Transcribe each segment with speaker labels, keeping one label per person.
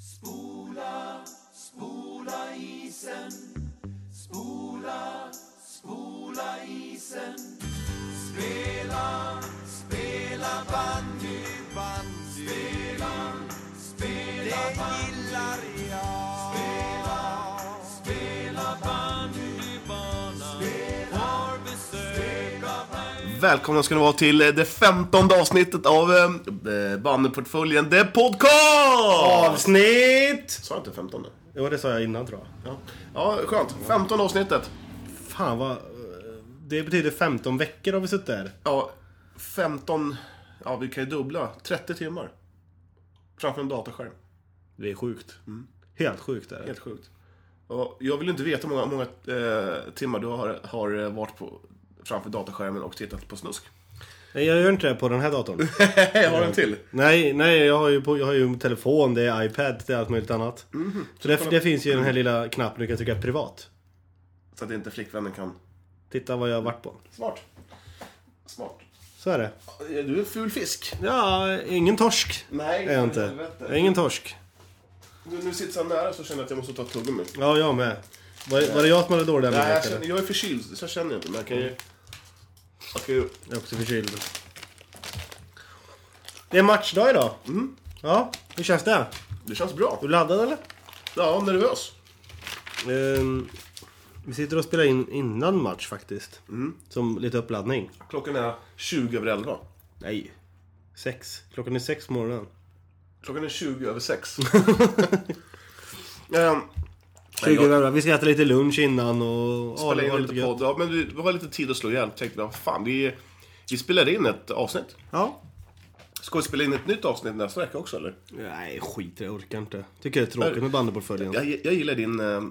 Speaker 1: Spola, spola isen. Spola, spola isen. Spela, spela bandy, bandy. Spela, spela Det gillar jag. Spela, spela bandybanan. Har besök av
Speaker 2: Välkomna ska ni vara till eh, det femtonde avsnittet av eh, eh, Bandyportföljen The Podcast!
Speaker 3: Avsnitt!
Speaker 2: Sa jag inte femtonde?
Speaker 3: Jo, det sa jag innan tror jag.
Speaker 2: Ja, ja skönt. Femtonde avsnittet.
Speaker 3: Fan vad... eh, Det betyder 15 veckor har vi suttit där.
Speaker 2: Ja, 15... Ja, vi kan ju dubbla. 30 timmar. Framför en dataskärm.
Speaker 3: Det är sjukt. Mm. Helt sjukt är det.
Speaker 2: Helt sjukt. Och jag vill inte veta hur många, många eh, timmar du har, har eh, varit på, framför dataskärmen och tittat på snusk.
Speaker 3: Nej, jag gör inte det på den här datorn.
Speaker 2: jag har en till.
Speaker 3: nej, nej, jag har ju, på, jag har ju telefon, det är iPad, det är allt möjligt annat. Så det, det finns ju den här lilla knappen du kan trycka privat.
Speaker 2: Så att inte flickvännen kan...
Speaker 3: Titta vad jag har varit på.
Speaker 2: Smart. Smart.
Speaker 3: Så är det.
Speaker 2: Du är en ful fisk.
Speaker 3: Ja, ingen torsk.
Speaker 2: Nej,
Speaker 3: Är jag
Speaker 2: för
Speaker 3: inte.
Speaker 2: helvete.
Speaker 3: Jag är ingen torsk.
Speaker 2: Nu, nu sitter så här nära så känner jag att jag måste ta ett tuggummi.
Speaker 3: Ja, jag med. Var, var det jag som hade dåliga
Speaker 2: Nej, jag,
Speaker 3: märken?
Speaker 2: känner, jag är förkyld, så jag känner inte. Men jag kan ju... Jag kan ju...
Speaker 3: Jag är också förkyld. Det är matchdag idag. Mm. Ja, hur känns det?
Speaker 2: Det känns bra.
Speaker 3: Du laddad eller?
Speaker 2: Ja, nervös.
Speaker 3: Ehm, vi sitter och spelar in innan match faktiskt. Som lite uppladdning.
Speaker 2: Klockan är 20 över 11.
Speaker 3: Nej. Sex. Klockan är sex på morgonen.
Speaker 2: Klockan är 20 över Ehm, 6. um,
Speaker 3: 20 jag... Vi ska äta lite lunch innan och...
Speaker 2: spela
Speaker 3: Ja, det var
Speaker 2: in lite
Speaker 3: gött.
Speaker 2: podd. Ja, men vi, vi har lite tid att slå ihjäl. Tänkte vi, vad fan, vi, vi spelar in ett avsnitt.
Speaker 3: Ja.
Speaker 2: Ska vi spela in ett nytt avsnitt nästa vecka också, eller?
Speaker 3: Nej, skit Jag orkar inte. Tycker det är tråkigt med bandyportföljen.
Speaker 2: Jag, jag gillar din, eh,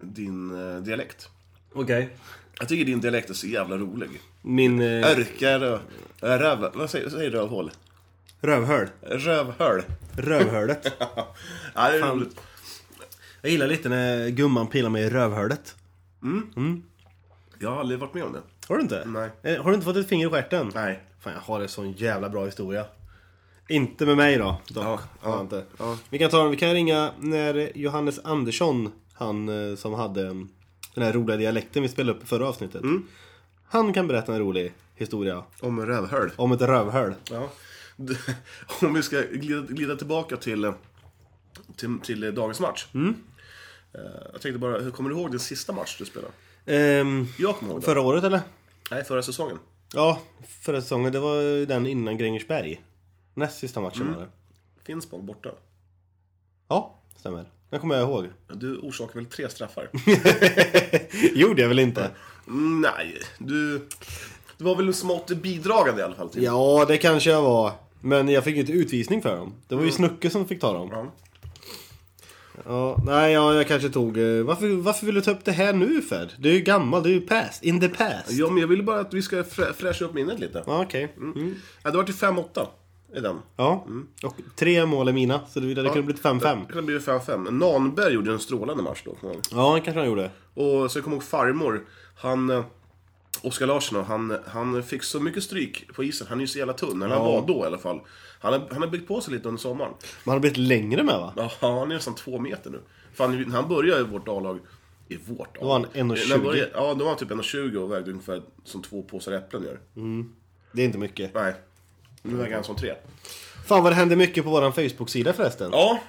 Speaker 2: din eh, dialekt.
Speaker 3: Okej.
Speaker 2: Jag tycker din dialekt är så jävla rolig.
Speaker 3: Min eh,
Speaker 2: Örkar och röv... Vad säger, säger rövhål?
Speaker 3: rövhöl.
Speaker 2: Rövhöl.
Speaker 3: Rövhölet.
Speaker 2: Ja, det är
Speaker 3: Fan.
Speaker 2: roligt.
Speaker 3: jag gillar lite när gumman pilar mig i rövhölet.
Speaker 2: Jag har aldrig varit med om det.
Speaker 3: Har du inte?
Speaker 2: Nej.
Speaker 3: Eh, Har du inte fått ett finger i stjärten?
Speaker 2: Nej.
Speaker 3: Fan, jag har en sån jävla bra historia. Inte med mig då, dock.
Speaker 2: Ja, ja,
Speaker 3: Har jag inte.
Speaker 2: ja.
Speaker 3: Vi kan ta den, vi kan ringa när Johannes Andersson, han eh, som hade eh, den här roliga dialekten vi spelade upp i förra avsnittet.
Speaker 2: Mm.
Speaker 3: Han kan berätta en rolig historia
Speaker 2: Om rövhöl.
Speaker 3: om ett rövhöl.
Speaker 2: Ja. Om vi ska glida, glida tillbaka till, eh, till, till eh, dagens match. Eh, Jag tänkte bara, hur kommer du ihåg din sista match du spelade?
Speaker 3: Ehm,
Speaker 2: Jag kommer ihåg den.
Speaker 3: förra året eller?
Speaker 2: Nej, förra säsongen.
Speaker 3: Ja, förra säsongen. Det var ju den innan Grängesberg. Näst sista matchen
Speaker 2: Mm.
Speaker 3: var det.
Speaker 2: Finspång borta.
Speaker 3: Ja, stämmer. Den kommer jag ihåg.
Speaker 2: Du orsakar väl tre straffar?
Speaker 3: Gjorde jag väl inte?
Speaker 2: Mm, Nej, du... Du var väl smått bidragande i alla fall? Till.
Speaker 3: Ja, det kanske jag var. Men jag fick ju inte utvisning för dem. Det var ju Snucke som fick ta dem.
Speaker 2: Mm. Ja.
Speaker 3: Ja, nej, ja, jag kanske tog... eh, Varför, varför vill du ta upp det här nu för? Du är ju gammal, du är ju past. In the past.
Speaker 2: ja, men jag ville bara att vi ska frä, fräscha upp minnet lite.
Speaker 3: Ja, okej. Mm.
Speaker 2: Ja, det var till 5-8 i den.
Speaker 3: Ja,
Speaker 2: Mm.
Speaker 3: och tre mål är mina. Så det, det kunde blivit 5-5.
Speaker 2: Det blev 5-5. Nanberg gjorde en strålande match då, kommer jag ihåg.
Speaker 3: Ja, det kanske han gjorde.
Speaker 2: Och så jag kommer ihåg farmor, han... eh, Oskar Larsson då, han, han fick så mycket stryk på isen, han är ju så jävla tunn, eller han var då i alla fall. Han har, han har byggt på sig lite under sommaren.
Speaker 3: Man har blivit längre med va?
Speaker 2: Ja, han är nästan två meter nu. För han, när han började i vårt A-lag, i vårt A-lag.
Speaker 3: var han 1,20.
Speaker 2: När han började- Ja, då var han typ 1,20 och vägde ungefär som två påsar äpplen gör.
Speaker 3: Det är inte mycket.
Speaker 2: Nej, nu väger han som tre.
Speaker 3: Fan vad det hände mycket på våran Facebook-sida förresten.
Speaker 2: Ja,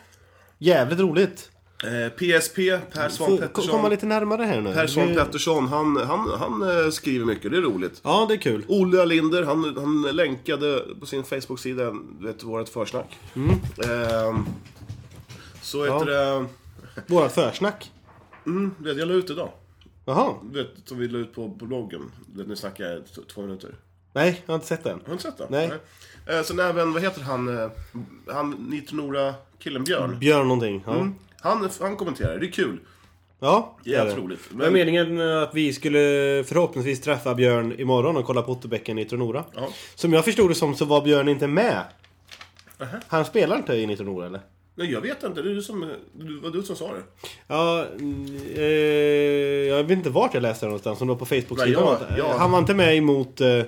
Speaker 3: Jävligt roligt.
Speaker 2: eh, PSP, Per Svan
Speaker 3: Får- ko- Komma
Speaker 2: Pettersson.
Speaker 3: lite närmare här nu.
Speaker 2: Per Svan
Speaker 3: Det-
Speaker 2: Pettersson, han, han, han eh, skriver mycket, det är roligt.
Speaker 3: Ja, det är kul.
Speaker 2: Olle Alinder, han, han länkade på sin Facebook-sida, du vet, vårt försnack.
Speaker 3: Mm.
Speaker 2: Ehm, så heter det...
Speaker 3: Vårat försnack.
Speaker 2: Mm, du vet, jag la ut idag.
Speaker 3: Jaha.
Speaker 2: Du vet, som vi la ut på på bloggen. Du vet, nu snackar jag t- två minuter.
Speaker 3: Nej, jag har inte sett den.
Speaker 2: Har du inte sett det?
Speaker 3: Nej.
Speaker 2: Eh, sen även, vad heter han, eh, han Nitronora-killen Björn.
Speaker 3: Björn någonting. Ja.
Speaker 2: Han, han kommenterar, det är kul.
Speaker 3: Ja, det är
Speaker 2: Jävligt
Speaker 3: det.
Speaker 2: roligt.
Speaker 3: Men... Det var meningen att vi skulle förhoppningsvis träffa Björn imorgon och kolla på Otterbäcken i Tronora.
Speaker 2: Ja.
Speaker 3: Som jag förstod det som så var Björn inte med. Han spelar inte i Tronora eller?
Speaker 2: Nej, jag vet inte, det är du som, det var du som sa det.
Speaker 3: Ja, mm, eh, jag vet inte vart jag läste det någonstans, om det var på Facebook-sidan.
Speaker 2: Nej,
Speaker 3: eller
Speaker 2: jag-
Speaker 3: något.
Speaker 2: jag-
Speaker 3: Han var inte med emot eh,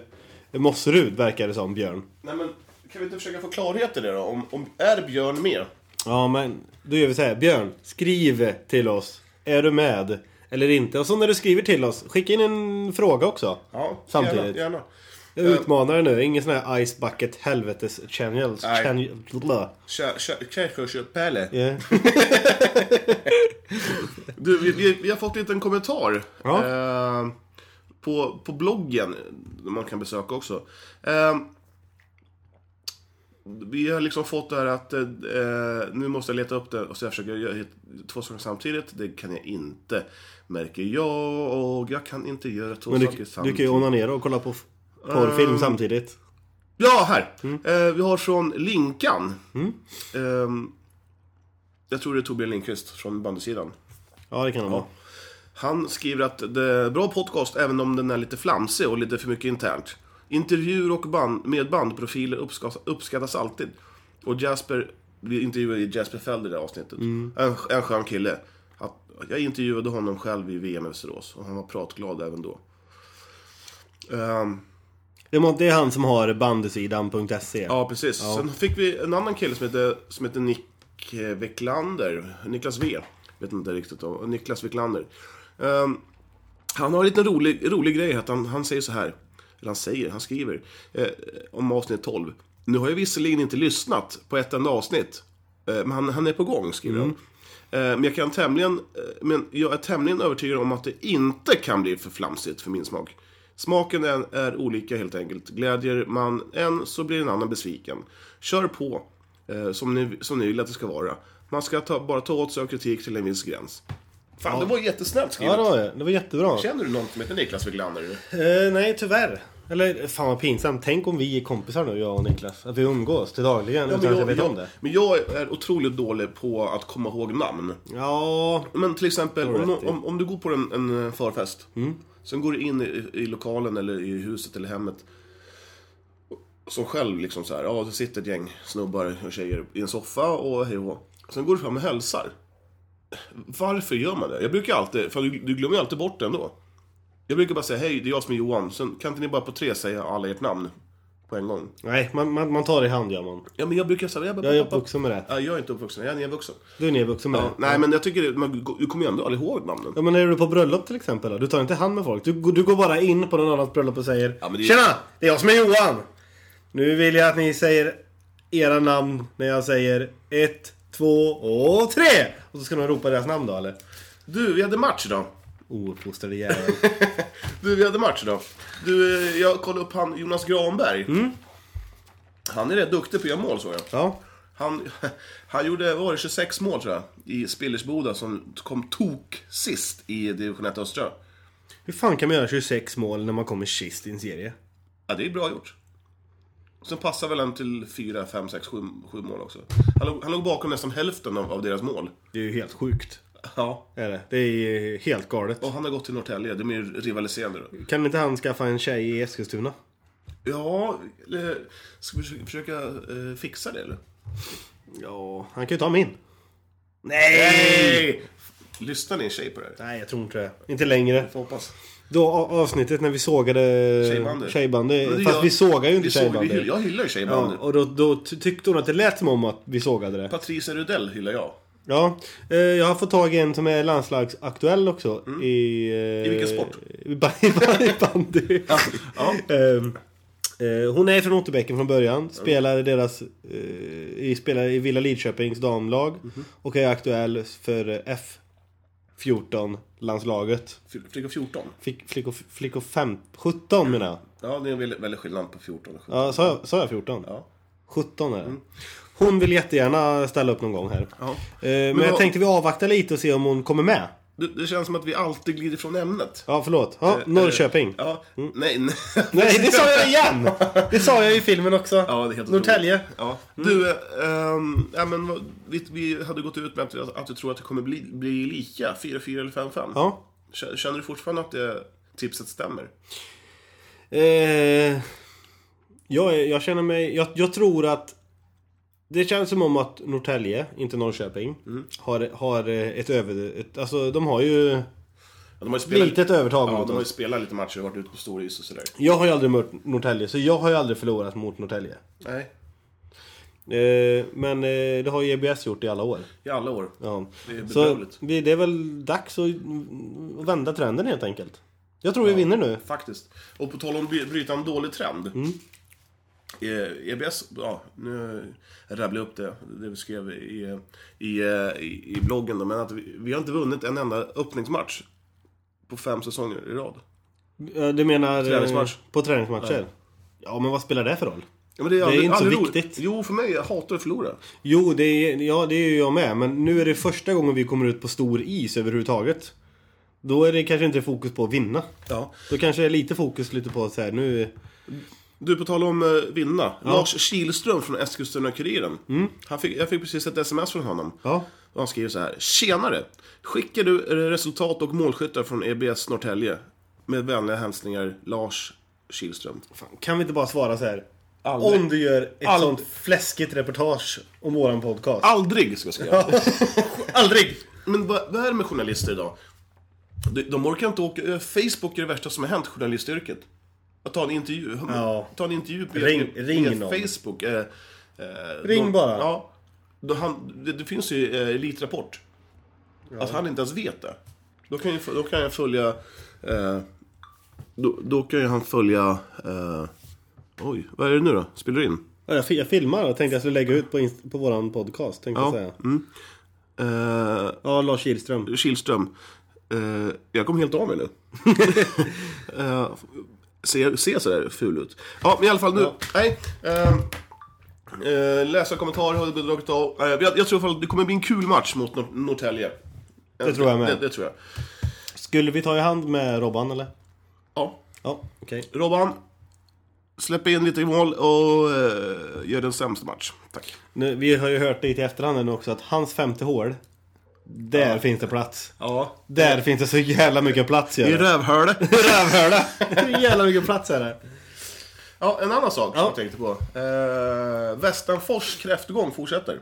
Speaker 3: Mosserud verkar det som, Björn.
Speaker 2: Nej men, kan vi inte försöka få klarhet i det då? Om, om är Björn med?
Speaker 3: Ja, men då gör vi så här. Björn, skriv till oss. Är du med? Eller inte. Och så när du skriver till oss, skicka in en fråga också.
Speaker 2: Ja,
Speaker 3: Samtidigt.
Speaker 2: Gärna, gärna.
Speaker 3: Jag utmanar dig nu. Ingen sån här Ice Bucket Helvetes Channels.
Speaker 2: Nej.
Speaker 3: Channel, bla.
Speaker 2: Kör, kör, kör, kör, kör, Pelle.
Speaker 3: Ja.
Speaker 2: Du, vi, vi, vi har fått en liten kommentar.
Speaker 3: Ja.
Speaker 2: Eh, på, på bloggen, man kan besöka också. Eh, vi har liksom fått det här att, eh, nu måste jag leta upp det och så jag försöker göra hit- två saker samtidigt. Det kan jag inte, märker jag. Och jag kan inte göra två
Speaker 3: Men du,
Speaker 2: saker
Speaker 3: du
Speaker 2: samtidigt.
Speaker 3: kan ju onanera och kolla på f- porrfilm samtidigt.
Speaker 2: Ja, här! Eh, vi har från Linkan. Ehm, jag tror det är Torbjörn Lindqvist från bandysidan.
Speaker 3: Ja, det kan det vara.
Speaker 2: Han skriver att det är bra podcast även om den är lite flamsig och lite för mycket internt. Intervjuer och band, med bandprofiler uppskattas, uppskattas alltid. Och Jasper, vi intervjuade ju Jasper Felder i det här avsnittet. En, en skön kille. Att, jag intervjuade honom själv i VM i Västerås och han var pratglad även då. Ehm,
Speaker 3: Det må- Det är han som har bandysidan.se.
Speaker 2: Ja, precis. Sen fick vi en annan kille som heter, som heter Nick eh, Wicklander. Niklas V. Vet inte riktigt om. Niklas Wicklander. Ehm, han har en liten rolig, rolig grej. Att han, han säger så här. Eller han säger, han skriver. Eh, om avsnitt 12. Nu har jag visserligen inte lyssnat på ett enda avsnitt. Eh, men han, han är på gång, skriver han. Eh, men jag, kan tämligen, eh, men jag är tämligen övertygad om att det inte kan bli för flamsigt för min smak. Smaken är, är olika helt enkelt. Glädjer man en så blir en annan besviken. Kör på eh, som, ni, som ni vill att det ska vara. Man ska ta, bara ta åt sig av kritik till en viss gräns. Fan, det var jättesnällt skrivet.
Speaker 3: Ja, det var det. Det var jättebra.
Speaker 2: Känner du någon som heter Niklas Wiglander?
Speaker 3: Eh, nej, tyvärr. Eller fan vad pinsamt. Tänk om vi är kompisar nu, jag och Niklas. Att vi umgås till dagligen utan att jag vet om det.
Speaker 2: men jag är otroligt dålig på att komma ihåg namn.
Speaker 3: Ja,
Speaker 2: Men till exempel,
Speaker 3: har du
Speaker 2: om,
Speaker 3: rätt i.
Speaker 2: om, om du går på en, en förfest.
Speaker 3: Mm.
Speaker 2: Sen går du in i, i lokalen eller i huset eller hemmet. Som själv liksom så här, ja det sitter ett gäng snubbar och tjejer i en soffa och hej och hå. Sen går du fram och hälsar. Varför gör man det? Jag brukar alltid, för du, du glömmer ju alltid bort det ändå. Jag brukar bara säga, hej det är jag som är Johan. Sen kan inte ni bara på tre säga alla ert namn? På en gång.
Speaker 3: nej, man, man, man tar det i hand gör man.
Speaker 2: Ja men jag brukar säga, jag, bara,
Speaker 3: Jag är uppvuxen med det.
Speaker 2: Ja, jag är inte uppvuxen, jag är nedvuxen.
Speaker 3: Du är nedvuxen med det.
Speaker 2: Nej men jag tycker, det- man, du kommer ju ändå aldrig ihåg namnen.
Speaker 3: Ja men är du på bröllop till exempel då? Du tar inte hand med folk. Du, du går bara in på någon annans bröllop och säger
Speaker 2: Ja, men det är-
Speaker 3: Tjena! Det är jag som är Johan! Nu vill jag att ni säger era namn när jag säger ett, två och tre! Och så ska de ropa deras namn då eller?
Speaker 2: Du, vi hade match idag.
Speaker 3: Ouppfostrade jävel.
Speaker 2: Du, vi hade match idag. Du, eh, jag kollade upp han Jonas Granberg. Han är rätt duktig på att göra mål såg jag.
Speaker 3: ja.
Speaker 2: Han, han gjorde, vad var det, 26 mål tror jag. I Spillersboda som kom tok sist i division 1 Östra.
Speaker 3: Hur fan kan man göra 26 mål när man kommer sist i en serie?
Speaker 2: Ja, det är bra gjort. Sen passar väl han till 4, 5, 6, 7, mål också. Han låg, han låg bakom nästan hälften av, av deras mål.
Speaker 3: Det är ju helt sjukt.
Speaker 2: Ja.
Speaker 3: Är det. det är ju helt galet.
Speaker 2: Och han har gått till Norrtälje, de är ju rivaliserande då.
Speaker 3: Kan inte han skaffa en tjej i Eskilstuna?
Speaker 2: Ja, eh, ska vi försöka- försöka eh, fixa det eller?
Speaker 3: Ja, han kan ju ta min.
Speaker 2: Nej! Lyssnar din tjej på det här?
Speaker 3: Nej, jag tror inte det. Inte längre.
Speaker 2: Får hoppas.
Speaker 3: Då a- avsnittet när vi sågade
Speaker 2: Tjejbandy.
Speaker 3: tjejbandy.
Speaker 2: Eh, Men det
Speaker 3: Fast
Speaker 2: gör-
Speaker 3: vi sågar ju inte
Speaker 2: vi såg- vi hyll-
Speaker 3: tjejbandy.
Speaker 2: Jag hyllar ju tjejbandy.
Speaker 3: Ja, och då, då ty- tyckte hon att det lät som om att vi sågade det.
Speaker 2: Patricia Rudell hyllar jag.
Speaker 3: Ja, eh, jag har fått tag i en som är landslagsaktuell också. I, eh,
Speaker 2: Mm. I vilken sport?
Speaker 3: I ba- i ba- i bandy.
Speaker 2: Ja.
Speaker 3: Ehm, eh, Hon är från Otterbäcken från början. Spelar i deras... eh, i, spelar i Villa Lidköpings damlag.
Speaker 2: Mhm.
Speaker 3: Och är aktuell för F14-landslaget.
Speaker 2: Fy- Flicka 14.
Speaker 3: Fick- Flickor flickor fem- 17 menar jag.
Speaker 2: Ja, det är en väldigt, väldigt skillnad på 14 och 17.
Speaker 3: Ja, sa jag, sa jag 14?
Speaker 2: Ja.
Speaker 3: 17 är det. Hon vill jättegärna ställa upp någon gång här.
Speaker 2: Mm. Ja.
Speaker 3: Eh, Men,
Speaker 2: Men
Speaker 3: jag
Speaker 2: vad-
Speaker 3: tänkte vi avvaktar lite och se om hon kommer med.
Speaker 2: Det, det känns som att vi alltid glider från ämnet.
Speaker 3: Ja, förlåt. Ja,
Speaker 2: Eh,
Speaker 3: Norrköping.
Speaker 2: Ja, nej, nej.
Speaker 3: Mm. Nej, det sa jag igen! Det sa jag i filmen också.
Speaker 2: Ja, det är helt otroligt.
Speaker 3: Norrtälje. Mm.
Speaker 2: Ja. Du, ehm, ja, men vad- vi, vi hade gått ut med att, att du tror att det kommer bli, bli lika, 4-4 eller 5-5.
Speaker 3: Ja.
Speaker 2: K- Känner du fortfarande att det tipset stämmer?
Speaker 3: Eh, jag, är- jag känner mig... Jag, jag tror att... Det känns som om att Norrtälje, inte Norrköping,
Speaker 2: Mm.
Speaker 3: har, har eh, ett över... Ett, alltså, de har ju
Speaker 2: Ja, de har ju spelat,
Speaker 3: litet övertag
Speaker 2: ja,
Speaker 3: mot
Speaker 2: de har ju
Speaker 3: oss.
Speaker 2: spelat lite matcher och varit ute på stor is och sådär.
Speaker 3: Jag har ju aldrig mött Norrtälje, så jag har ju aldrig förlorat mot Norrtälje.
Speaker 2: Nej.
Speaker 3: Eh, men eh, det har ju EBS gjort i alla år.
Speaker 2: I alla år.
Speaker 3: Ja.
Speaker 2: Det är
Speaker 3: Så
Speaker 2: bedrövligt.
Speaker 3: vi, det är väl dags att mm, vända trenden helt enkelt. Jag tror vi vinner nu.
Speaker 2: Faktiskt. Och på tal om att bry- bryta en dålig trend. Eh, EBS, ja, nu rabblar jag upp det, det vi skrev i, i, eh, i, i bloggen då, men att vi, vi har inte vunnit en enda öppningsmatch på fem säsonger i rad.
Speaker 3: Eh, Du menar... eh,
Speaker 2: Träningsmatch.
Speaker 3: På träningsmatcher? Ja, men vad spelar det för roll?
Speaker 2: Ja, men det är, aldrig-
Speaker 3: inte så
Speaker 2: aldrig roligt.
Speaker 3: viktigt.
Speaker 2: Jo, för mig, jag hatar att förlora.
Speaker 3: Jo, det är, ja, det är ju jag med. Men nu är det första gången vi kommer ut på stor is överhuvudtaget. Då är det kanske inte fokus på att vinna.
Speaker 2: Ja.
Speaker 3: Då kanske det är lite fokus lite på så här, nu...
Speaker 2: Du, på tal om eh, vinna. Lars Kihlström från Eskilstuna-Kuriren. Han Fick, jag fick precis ett sms från honom.
Speaker 3: Ja.
Speaker 2: Och han skriver så här. Tjenare! Skickar du resultat och målskyttar från EBS Norrtälje? Med vänliga hälsningar Lars Kihlström.
Speaker 3: Fan, kan vi inte bara svara så här?
Speaker 2: Aldrig.
Speaker 3: Om du gör ett
Speaker 2: Aldrig.
Speaker 3: sånt fläskigt reportage om våran podcast.
Speaker 2: Aldrig ska jag skriva.
Speaker 3: Aldrig!
Speaker 2: Men vad, vad är det med journalister idag? De, de orkar inte åka... eh, Facebook är det värsta som har hänt journalistyrket. Att ta en intervju.
Speaker 3: Ja.
Speaker 2: Ta en intervju på
Speaker 3: Ring-
Speaker 2: via-
Speaker 3: ring
Speaker 2: via
Speaker 3: någon.
Speaker 2: Facebook. Eh, eh,
Speaker 3: Ring
Speaker 2: de-
Speaker 3: bara.
Speaker 2: Ja. Då han, det, det finns ju eh, Elitrapport. Att han inte ens vet det. Då kan ju, då kan jag följa... Eh, då, då kan ju han följa... Eh, oj, vad är det nu då? Spelar du in?
Speaker 3: Ja, Jag, fi- jag filmar och tänkte jag skulle lägga ut på, inst- på våran podcast, tänkte jag säga.
Speaker 2: Mm. Eh,
Speaker 3: Ja, Lars Kihlström.
Speaker 2: Kihlström. Eh, jag kom helt av mig nu. eh, ser, ser sådär ful ut. Ja, men i alla fall nu. Nej. Eh, eh, läsa kommentarer har jag bidragit av. Eh, jag, jag tror i alla fall att det kommer bli en kul match mot Nor- Norrtälje.
Speaker 3: Det tror jag med.
Speaker 2: Det, det tror jag.
Speaker 3: Skulle vi ta i hand med Robban eller?
Speaker 2: Ja.
Speaker 3: Ja, okej.
Speaker 2: Robban. Släpp in lite mål och eh, gör den sämsta match. Tack.
Speaker 3: Nu, vi har ju hört lite i efterhand nu också att hans femte hål, där finns det plats.
Speaker 2: Ja.
Speaker 3: Där finns det så jävla mycket plats
Speaker 2: I
Speaker 3: gör det.
Speaker 2: rövhålet.
Speaker 3: Rövhörda! Hur jävla mycket plats är det?
Speaker 2: ja, en annan sak som
Speaker 3: Ja.
Speaker 2: jag tänkte på. Eh, Västanfors kräftgång fortsätter.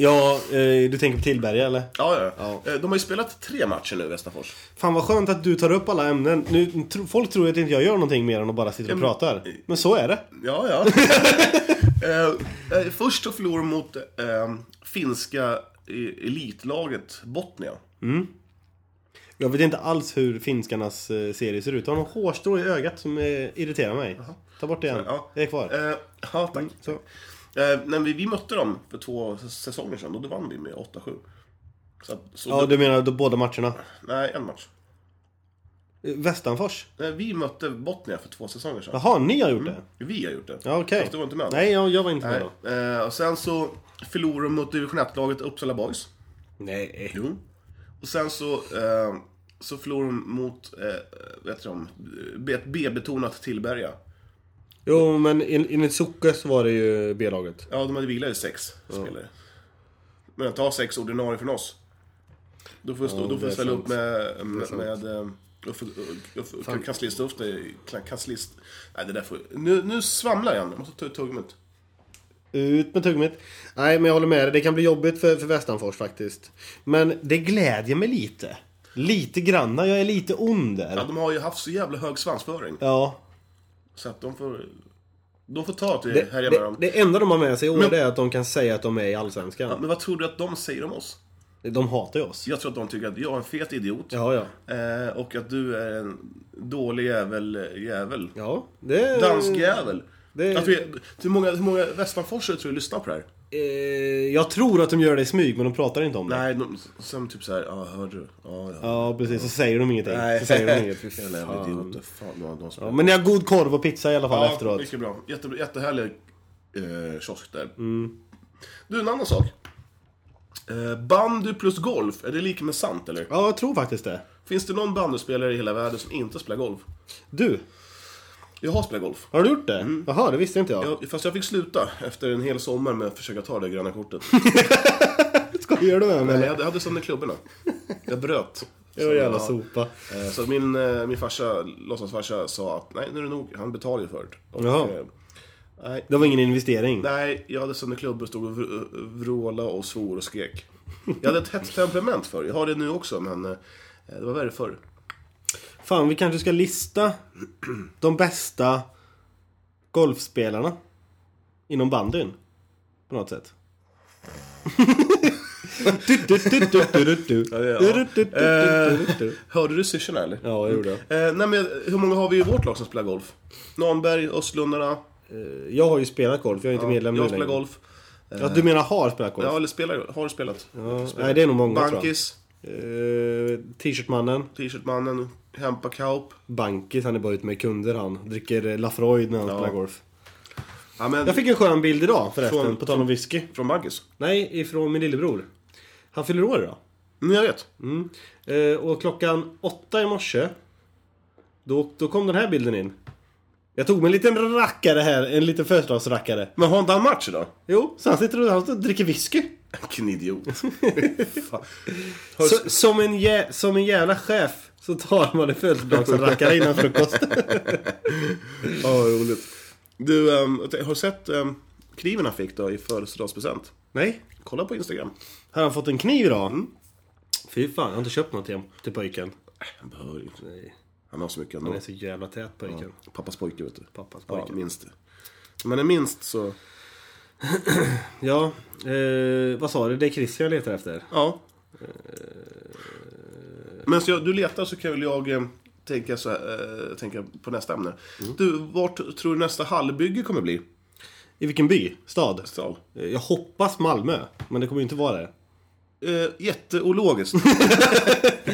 Speaker 3: Ja, eh, du tänker på Tillberga eller?
Speaker 2: Ja, ja. ja. Eh, De har ju spelat tre matcher nu, Västerfors.
Speaker 3: Fan vad skönt att du tar upp alla ämnen. Nu, tro, folk tror att inte jag gör någonting mer än att bara sitta och
Speaker 2: men-
Speaker 3: pratar. Men så är det.
Speaker 2: Ja, ja. eh, eh, först så förlorade de mot eh, finska e- elitlaget Botnia.
Speaker 3: Jag vet inte alls hur finskarnas eh, serie ser ut. Jag har någon hårstrå i ögat som eh, irriterar mig. Ta bort det igen.
Speaker 2: Ja.
Speaker 3: Det är kvar. Mm,
Speaker 2: Eh, ja, tack.
Speaker 3: Så.
Speaker 2: Eh, när vi, vi mötte dem för två s- säsonger sedan och då vann vi med 8-7. Så, att- så
Speaker 3: Ja,
Speaker 2: då,
Speaker 3: du menar då båda matcherna?
Speaker 2: Nej, en match.
Speaker 3: Eh, Västanfors?
Speaker 2: Nej, vi mötte Botnia för två säsonger sedan.
Speaker 3: Jaha, ni har gjort det?
Speaker 2: Vi har gjort det.
Speaker 3: Ja, okej.
Speaker 2: Fast du var Mm. inte med.
Speaker 3: Nej, jag, jag var inte med
Speaker 2: Nej.
Speaker 3: då.
Speaker 2: Eh, och sen så förlorade de mot division 1-laget Uppsala Boys.
Speaker 3: Nej. eh.
Speaker 2: Jo. Och sen så, eh, så förlorade de mot, eh, vet du om, B- ett B-betonat Tillberga.
Speaker 3: Jo, men en- enligt Socke så var det ju B-laget.
Speaker 2: Ja, de hade vilat i sex spelare. Men ta sex ordinarie från oss. Då får vi, stå,
Speaker 3: Ja,
Speaker 2: då får
Speaker 3: det är
Speaker 2: vi ställa
Speaker 3: sant.
Speaker 2: upp med, med,
Speaker 3: sant.
Speaker 2: med eh, Uffe- Uffe- Uffe- kanslist-Uffe, kla- kanslist... Nej, det där får... Nu, nu svamlar jag. Jag måste ta ut tuggummit.
Speaker 3: Ut med tuggummit. Nej, men jag håller med dig. Det kan bli jobbigt för, för Västanfors faktiskt. Men det glädjer mig lite. Lite granna. Jag är lite ond
Speaker 2: Ja,
Speaker 3: där.
Speaker 2: de har ju haft så jävla hög svansföring.
Speaker 3: Ja. så
Speaker 2: Så att de får... De får ta att vi
Speaker 3: Det,
Speaker 2: härjar med
Speaker 3: det,
Speaker 2: dem.
Speaker 3: det enda de har med sig i år
Speaker 2: Men-
Speaker 3: det är att de kan säga att de är i
Speaker 2: Ja,
Speaker 3: Allsvenskan.
Speaker 2: men vad tror du att de säger om oss?
Speaker 3: De hatar ju oss.
Speaker 2: Jag tror att de tycker att jag är en fet idiot.
Speaker 3: Ja, ja.
Speaker 2: Eh, och att du är en dålig jävel, jävel.
Speaker 3: Ja, det...
Speaker 2: Dansk jävel.
Speaker 3: Mm. det-
Speaker 2: Att vi, hur många, hur många västanforsare tror du lyssnar på det här?
Speaker 3: Eh, jag tror att de gör det i smyg, men de pratar inte om det.
Speaker 2: Nej, de, sen typ såhär, ja hörde du? Ja, ja.
Speaker 3: Ja, precis. Så säger de ingenting. Så säger de inget. Fy
Speaker 2: Jävla jävla
Speaker 3: fan.
Speaker 2: idioter. Fan vad de
Speaker 3: Ja,
Speaker 2: spelar.
Speaker 3: men ni har god korv och pizza i alla fall
Speaker 2: Ja,
Speaker 3: efteråt.
Speaker 2: mycket bra. Jätte, jättehärlig eh, kiosk där.
Speaker 3: Mm.
Speaker 2: Du, en annan sak. Eh, bandy plus golf, är det lika med sant eller?
Speaker 3: Ja, jag tror faktiskt det.
Speaker 2: Finns det någon bandyspelare i hela världen som inte spelar golf?
Speaker 3: Du,
Speaker 2: Jag har spelat golf.
Speaker 3: har du gjort det? Jaha, det visste inte jag.
Speaker 2: Jag, fast jag fick sluta efter en hel sommar med att försöka ta det gröna kortet.
Speaker 3: Skojar du med mig
Speaker 2: Men
Speaker 3: eller?
Speaker 2: jag hade- hade sönder klubborna. Jag bröt.
Speaker 3: Det var jävla sopa.
Speaker 2: Eh, Så min, eh, min farsa, låtsasfarsa, sa att nej nu är det nog, han betalar ju för det. Och,
Speaker 3: Jaha.
Speaker 2: eh, Nej,
Speaker 3: Det var ingen investering.
Speaker 2: nej, jag hade sönder klubbor, stod och vr- vråla och svor och skrek. Jag hade ett hett temperament förr, jag har det nu också men eh, det var värre förr.
Speaker 3: Fan, vi kanske ska lista de bästa golfspelarna inom bandyn. På något sätt. Du, du, du, du, du, du, du.
Speaker 2: Ja, det är- ja.
Speaker 3: Du, du, du, du, du, du, du.
Speaker 2: Hörde du syrsorna eller?
Speaker 3: Ja, jag gjorde det.
Speaker 2: Eh, nej, men hur många har vi i vårt lag som spelar golf? Nanberg, Östlundarna,
Speaker 3: Eh, Jag har ju spelat golf, jag är inte medlem nu
Speaker 2: jag spelar
Speaker 3: längre.
Speaker 2: golf.
Speaker 3: Ja, du menar har spelat golf?
Speaker 2: Ja, eller spelar, har spelat.
Speaker 3: Ja, nej, det är nog många tror
Speaker 2: Bankis,
Speaker 3: jag. Eh, T-shirtmannen.
Speaker 2: T-shirtmannen, Hempa Kaup.
Speaker 3: Bankis, han är bara ute med kunder han. Dricker eh, Lafroid när han spelar golf.
Speaker 2: Ja, men
Speaker 3: Jag fick en skön bild idag förresten,
Speaker 2: Från-
Speaker 3: på tal om whisky.
Speaker 2: från Bankis.
Speaker 3: Nej, ifrån min lillebror. Han fyller år idag.
Speaker 2: Mm, jag vet.
Speaker 3: Mm. Eh, och klockan åtta i morse då, då kom den här bilden in. Jag tog mig en liten rackare här, en liten födelsedagsrackare.
Speaker 2: Men har inte han match idag?
Speaker 3: Jo, så han sitter och, han står och dricker whisky.
Speaker 2: Vilken idiot. Fan.
Speaker 3: Så, som, en jä, som en jävla chef så tar man en födelsedagsrackare innan frukost.
Speaker 2: Ja, vad roligt. Du, ehm, har du sett um, kniven han fick då i födelsedagspresent?
Speaker 3: Nej,
Speaker 2: Kolla på Instagram.
Speaker 3: har han fått en kniv idag?
Speaker 2: Mm.
Speaker 3: Fy fan, jag har inte köpt något till, honom- till pojken.
Speaker 2: Han behöver ju inte. Han har så mycket
Speaker 3: Han
Speaker 2: ändå.
Speaker 3: är så jävla tät pojken.
Speaker 2: Pappas pojke, vet du.
Speaker 3: Pappas pojke.
Speaker 2: Ja, minst. Om man är minst så...
Speaker 3: Ja, eh, vad sa du? Det är Christian jag letar efter.
Speaker 2: Ja. Men så jag, du letar så kan väl jag eh, tänka, så här, eh, tänka på nästa ämne.
Speaker 3: Mm.
Speaker 2: Du, vart tror du nästa hallbygge kommer bli?
Speaker 3: I vilken by? Stad?
Speaker 2: Stal.
Speaker 3: Eh, Jag hoppas Malmö, men det kommer ju inte vara det.
Speaker 2: Eh, jätteologiskt.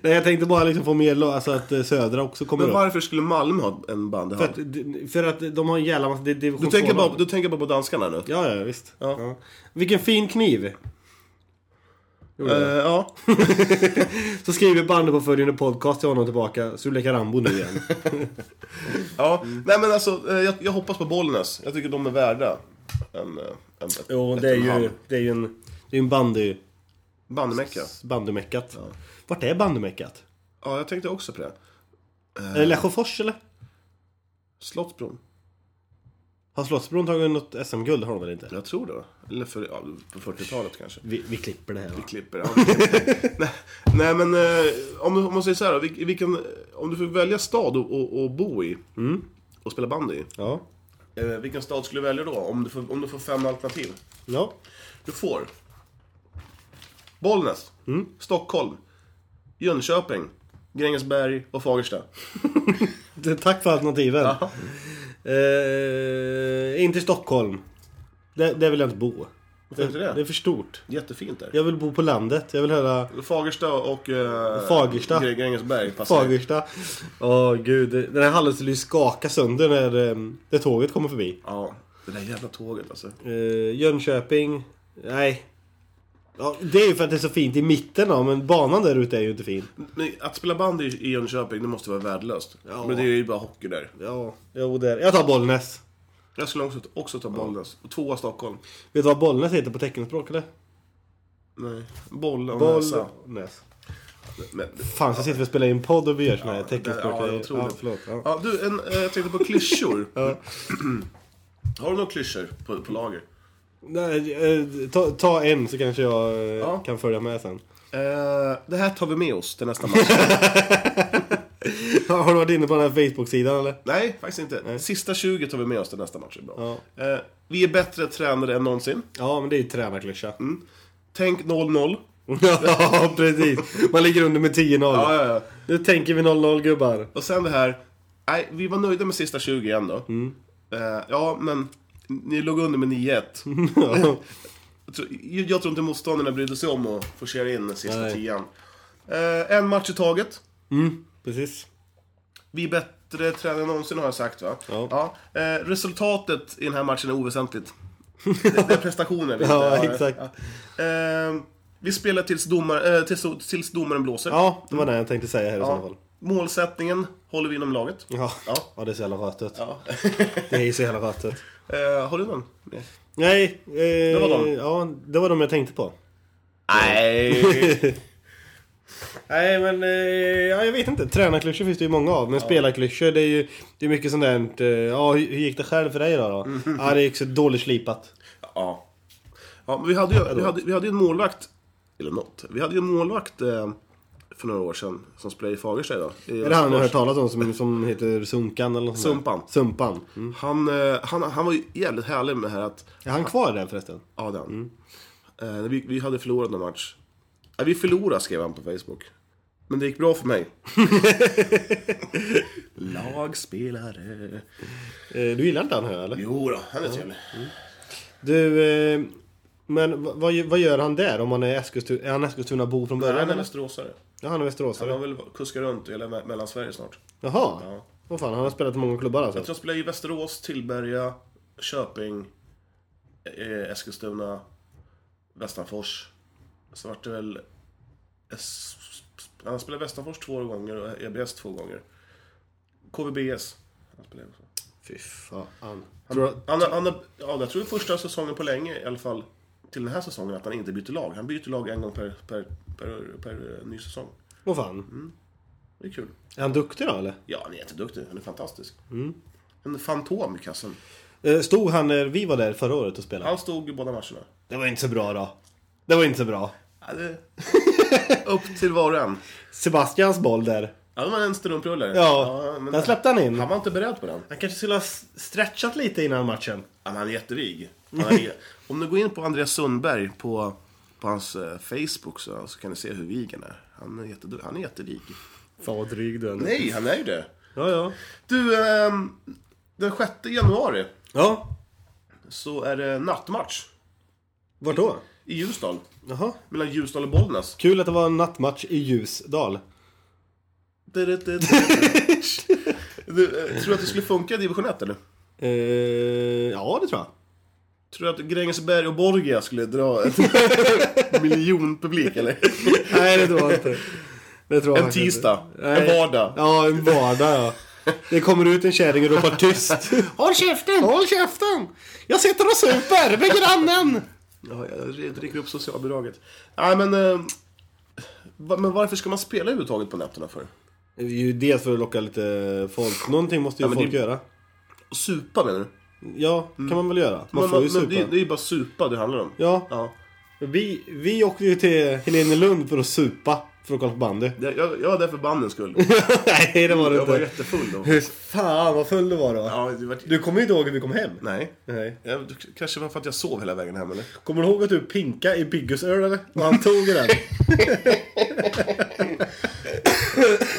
Speaker 3: Nej, jag tänkte bara liksom få med lo- alltså att eh, södra också kommer
Speaker 2: Men
Speaker 3: upp.
Speaker 2: varför skulle Malmö ha en
Speaker 3: För
Speaker 2: bandyhall?
Speaker 3: att, d- för att de har en jävla massa... det- det
Speaker 2: Du
Speaker 3: är division
Speaker 2: tänker,
Speaker 3: två
Speaker 2: bara,
Speaker 3: lag.
Speaker 2: du tänker bara på danskarna nu?
Speaker 3: Ja, ja, visst.
Speaker 2: Ja.
Speaker 3: Ja. Vilken fin kniv! Gjorde
Speaker 2: Eh,
Speaker 3: jag.
Speaker 2: ja.
Speaker 3: Så skriver bandet på följande podcast till honom tillbaka, så du leker Rambo nu igen.
Speaker 2: Ja, nej men alltså eh, jag, jag hoppas på Bollnäs. Jag tycker de är värda en... eh, en ett-
Speaker 3: jo,
Speaker 2: ett
Speaker 3: det är
Speaker 2: och en
Speaker 3: ju
Speaker 2: halv.
Speaker 3: det är ju en, det är ju en bandy,
Speaker 2: Bandymecka.
Speaker 3: bandymeckat. Vart är bandymeckat?
Speaker 2: Ja, jag tänkte också på det.
Speaker 3: Är det Lesjöfors eller?
Speaker 2: Slottsbron.
Speaker 3: Har Slottsbron tagit något SM-guld? har de väl inte?
Speaker 2: Jag tror det. Eller för, ja, på 40-talet kanske.
Speaker 3: Vi, vi klipper det här va?
Speaker 2: Klipper ja. nej, nej men eh, om, om man säger så här då, vil- vilken, Om du fick välja stad att- att att bo i och spela bandy i.
Speaker 3: Ja.
Speaker 2: Mm. eh, Vilken stad skulle du välja då? Om du får, om du får fem alternativ.
Speaker 3: Ja.
Speaker 2: Du får Bollnäs,
Speaker 3: Mm.
Speaker 2: Stockholm, Jönköping, Grängesberg och Fagersta.
Speaker 3: Det- Tack för alternativen. Eh, inte i Stockholm. Där, där vill jag inte bo.
Speaker 2: Varför inte det?
Speaker 3: Det är för stort.
Speaker 2: Jättefint där.
Speaker 3: Jag vill bo på landet. Jag vill höra
Speaker 2: Fagersta och eh,
Speaker 3: Fagersta.
Speaker 2: Gre- Grängesberg passar.
Speaker 3: Fagersta. Åh gud, den här hallen skulle ju skaka sönder när, eh, när tåget kommer förbi.
Speaker 2: Ja, det där jävla tåget alltså.
Speaker 3: Eh, Jönköping. Nej. Ja, det är ju för att det är så fint i mitten då, men banan där ute är ju inte fin.
Speaker 2: Men att spela band i i Jönköping, det måste vara värdelöst.
Speaker 3: Ja.
Speaker 2: Men det är ju bara hockey där.
Speaker 3: Ja, jo där. Jag tar Bollnäs.
Speaker 2: Jag skulle också, också ta Bollnäs. Och Tvåa Stockholm.
Speaker 3: Vet du vad Bollnäs heter på teckenspråk eller?
Speaker 2: Nej. Boll och näsa.
Speaker 3: Bollnäs.
Speaker 2: Men,
Speaker 3: Fan, så sitter vi och spelar in podd och vi gör såna här
Speaker 2: där- ja,
Speaker 3: teckenspråk.
Speaker 2: jag tror det.
Speaker 3: förlåt. Ja.
Speaker 2: ja, du, en, eh, jag tänkte på klyschor. Har du några klyschor på, på lager?
Speaker 3: Nej, eh, ta, ta en så kanske jag eh,
Speaker 2: Ja.
Speaker 3: kan följa med sen.
Speaker 2: Eh, det här tar vi med oss till nästa match.
Speaker 3: Har du varit inne på den här Facebook-sidan eller?
Speaker 2: Nej, faktiskt inte. Sista 20 tar vi med oss till nästa match. Det är Bra.
Speaker 3: Ja.
Speaker 2: Eh, vi är bättre tränare än någonsin.
Speaker 3: Ja, men det är ju tränarklyscha.
Speaker 2: Tänk 0-0.
Speaker 3: ja, precis. Man ligger under med 10-0.
Speaker 2: Ja, ja, ja.
Speaker 3: Nu tänker vi 0-0 gubbar.
Speaker 2: Och sen det här. Nej, vi var nöjda med sista 20 igen då.
Speaker 3: Mm.
Speaker 2: Eh, ja, men ni låg under med 9-1. Jag tror- Jag tror inte motståndarna brydde sig om att forcera in den sista
Speaker 3: Nej.
Speaker 2: tian. Eh, en match i taget.
Speaker 3: Precis.
Speaker 2: Vi är bättre tränare än någonsin har jag sagt va?
Speaker 3: Ja.
Speaker 2: Eh, resultatet i den här matchen är oväsentligt. Det det är prestationen vi inte
Speaker 3: Ja,
Speaker 2: har.
Speaker 3: exakt.
Speaker 2: Ja. Eh, vi spelar tills, domar, eh, tills, tills domaren blåser.
Speaker 3: Ja, det var det jag tänkte säga här i så fall.
Speaker 2: Målsättningen håller vi inom laget.
Speaker 3: Ja.
Speaker 2: Ja.
Speaker 3: ja, det är så jävla rötet. Det är så jävla rötet.
Speaker 2: Eh, har du någon? Nej.
Speaker 3: Nej, eh, det
Speaker 2: var de.
Speaker 3: Ja, det var de jag tänkte på.
Speaker 2: Nej.
Speaker 3: Nej, men eh, ja, jag vet inte. Tränarklyschor finns det ju många av, men spelarklyschor det är ju det är mycket sånt där. eh, Ja, hur hur gick det själv för dig idag då?
Speaker 2: Mm.
Speaker 3: Ja, det gick så dåligt slipat.
Speaker 2: ja. ja men vi, hade ju, vi, hade, vi hade ju en målvakt. Eller något. Vi hade ju en målvakt eh, för några år sedan som spelar i Fagersta idag. I
Speaker 3: Är det han du har
Speaker 2: Göteborg.
Speaker 3: hört talas om som, som heter Sunkan eller något sånt där?
Speaker 2: Sumpan.
Speaker 3: Sumpan. Mm.
Speaker 2: han, eh, han, han var ju jävligt härlig med det här att
Speaker 3: Är han kvar där förresten?
Speaker 2: Ja, den. Eh, vi, vi hade förlorat någon match. Nej, vi förlorade, skrev han på Facebook. Men det gick bra för mig. Lagspelare.
Speaker 3: Eh, du gillar inte han här eller?
Speaker 2: Jo då, han är trevlig.
Speaker 3: Du, eh, men vad- vad, vad gör han där? Om han är, Eskilstuna, är han Eskilstuna-bo från
Speaker 2: Han
Speaker 3: början?
Speaker 2: är
Speaker 3: eller?
Speaker 2: västeråsare.
Speaker 3: Ja, han är
Speaker 2: Han
Speaker 3: västeråsare.
Speaker 2: har väl kuska runt i hela Me- Mellansverige snart.
Speaker 3: Jaha.
Speaker 2: Ja.
Speaker 3: Vad fan, han har spelat i många klubbar alltså?
Speaker 2: Jag tror han spelar i Västerås, Tillberga, Köping, eh, Eskilstuna, Västanfors. Så vart det väl... S- han spelade Västanfors två gånger och EBS två gånger. KVBS. Han spelade också.
Speaker 3: Fy fan. Tror du-
Speaker 2: Han, han, han, ja, jag tror det är första säsongen på länge i alla fall till den här säsongen att han inte byter lag. Han byter lag en gång per, per, per, per eh, ny säsong.
Speaker 3: Vad fan.
Speaker 2: Mm. Det är kul.
Speaker 3: Är han duktig då eller?
Speaker 2: Ja, han är jätteduktig. Han är fantastisk.
Speaker 3: Mm.
Speaker 2: En fantom i kassen.
Speaker 3: Eh, Stod han när vi var där förra året och spelade?
Speaker 2: Han stod i båda matcherna.
Speaker 3: Det var inte så bra då. Det var inte så bra.
Speaker 2: Ja, det... Alltså, Upp till var och en.
Speaker 3: Sebastians boll där.
Speaker 2: Ja, det var en strumprullare.
Speaker 3: Ja,
Speaker 2: men-
Speaker 3: den släppte han in.
Speaker 2: Han var inte beredd på den.
Speaker 3: Han kanske skulle ha s- stretchat lite innan matchen.
Speaker 2: Ja, men Han är jättevig. Han är... Om du går in på Andreas Sundberg på, på hans eh, Facebook så, så kan du se hur vig han är. Han är, jätte... han är jättevig.
Speaker 3: Fan vad dryg du är nu.
Speaker 2: Nej, han är ju det.
Speaker 3: Ja, ja.
Speaker 2: Du, ehm, den 6 januari
Speaker 3: Ja,
Speaker 2: så är det nattmatch
Speaker 3: vart då?
Speaker 2: i Ljusdal.
Speaker 3: Jaha.
Speaker 2: Mellan Ljusdal och Bollnäs.
Speaker 3: Kul att det var en nattmatch i Ljusdal.
Speaker 2: Du, eh, tror du att det skulle funka i division 1 eller?
Speaker 3: Eh, ja, det tror jag.
Speaker 2: Tror du att Grängesberg och Borgia skulle dra ett miljonpublik eller?
Speaker 3: Nej, det tror jag inte. Det tror jag
Speaker 2: En
Speaker 3: faktiskt
Speaker 2: tisdag.
Speaker 3: inte.
Speaker 2: En vardag.
Speaker 3: Ja, en vardag ja. Det kommer ut en kärring och ropar tyst. Håll käften! Håll käften! Jag sitter och super med grannen!
Speaker 2: Ja, jag dricker upp socialbidraget. Nej, men... Eh, va- men varför ska man spela överhuvudtaget på nätterna för?
Speaker 3: Det är ju dels för att locka lite folk. Någonting måste ju
Speaker 2: Ja, men
Speaker 3: folk
Speaker 2: det-
Speaker 3: göra.
Speaker 2: Och Supa menar du?
Speaker 3: Ja, kan man väl göra. Man
Speaker 2: Men,
Speaker 3: får ju
Speaker 2: men,
Speaker 3: supa.
Speaker 2: det, är- det är ju bara supa det handlar om.
Speaker 3: Ja,
Speaker 2: Ja,
Speaker 3: vi, vi åkte ju till Helenelund för att supa. För att kolla på bandy.
Speaker 2: det, jag, jag är där för bandens skull.
Speaker 3: Nej, det var det
Speaker 2: Jag var
Speaker 3: inte.
Speaker 2: jättefull då.
Speaker 3: Hur fan vad full du var då.
Speaker 2: Ja, det var...
Speaker 3: Du kommer ju inte ihåg hur vi kom hem.
Speaker 2: Nej.
Speaker 3: Nej.
Speaker 2: Jag, det kanske var för att jag sov hela vägen hem eller?
Speaker 3: Kommer du ihåg att du pinka i Biggus öl eller? Och han tog den.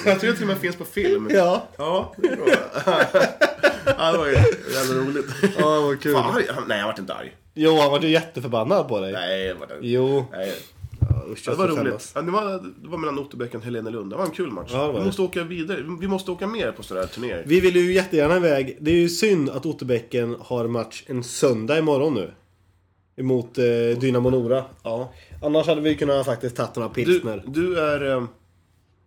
Speaker 2: Jag tror jag till och med finns på film.
Speaker 3: ja.
Speaker 2: Ja, det är bra. ja, det var ju jävla roligt.
Speaker 3: Ja, vad kul.
Speaker 2: Fan, arg. han- Nej, jag vart inte arg.
Speaker 3: Jo, han var ju jätteförbannad på dig.
Speaker 2: Nej, jag vart inte
Speaker 3: Jo.
Speaker 2: Nej.
Speaker 3: Usch,
Speaker 2: Ja,
Speaker 3: jag
Speaker 2: det var
Speaker 3: ska
Speaker 2: roligt.
Speaker 3: skämmas.
Speaker 2: Ja, det, var, det var mellan Otterbäcken och Helenelund. Det var en kul match.
Speaker 3: Ja, det var
Speaker 2: vi
Speaker 3: det.
Speaker 2: måste åka vidare. Vi måste åka mer på sådana här turnéer.
Speaker 3: Vi vill ju jättegärna iväg. Det är ju synd att Otterbäcken har match en söndag imorgon nu. Emot eh, Dynamo Nora.
Speaker 2: Ja.
Speaker 3: Annars hade vi kunnat faktiskt tagit några
Speaker 2: Du,
Speaker 3: pilsner.
Speaker 2: du är... eh,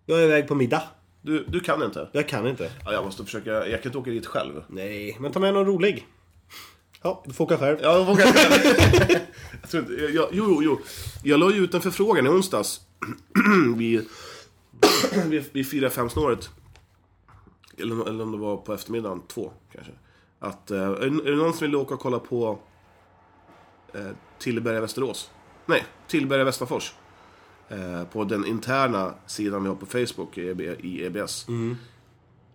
Speaker 3: Jag är iväg på middag.
Speaker 2: Du, du kan inte.
Speaker 3: Jag kan inte.
Speaker 2: Ja, jag måste försöka. Jag kan inte åka dit själv.
Speaker 3: Nej, men ta med någon rolig. Ja, du får åka själv.
Speaker 2: Ja, jag vågar inte. jag tror inte. Jag, jag, jo, jo, jo. Jag la ju ut en förfrågan i onsdags. vid, vid, vid 4-5-snåret. Eller, eller om det var på eftermiddagen, två kanske. Att, eh, är, det- är det någon som vill åka och kolla på eh, Tillberga-Västerås? Nej, Tillberga-Västerfors. Eh, på den interna sidan vi har på Facebook i, EB, i EBS.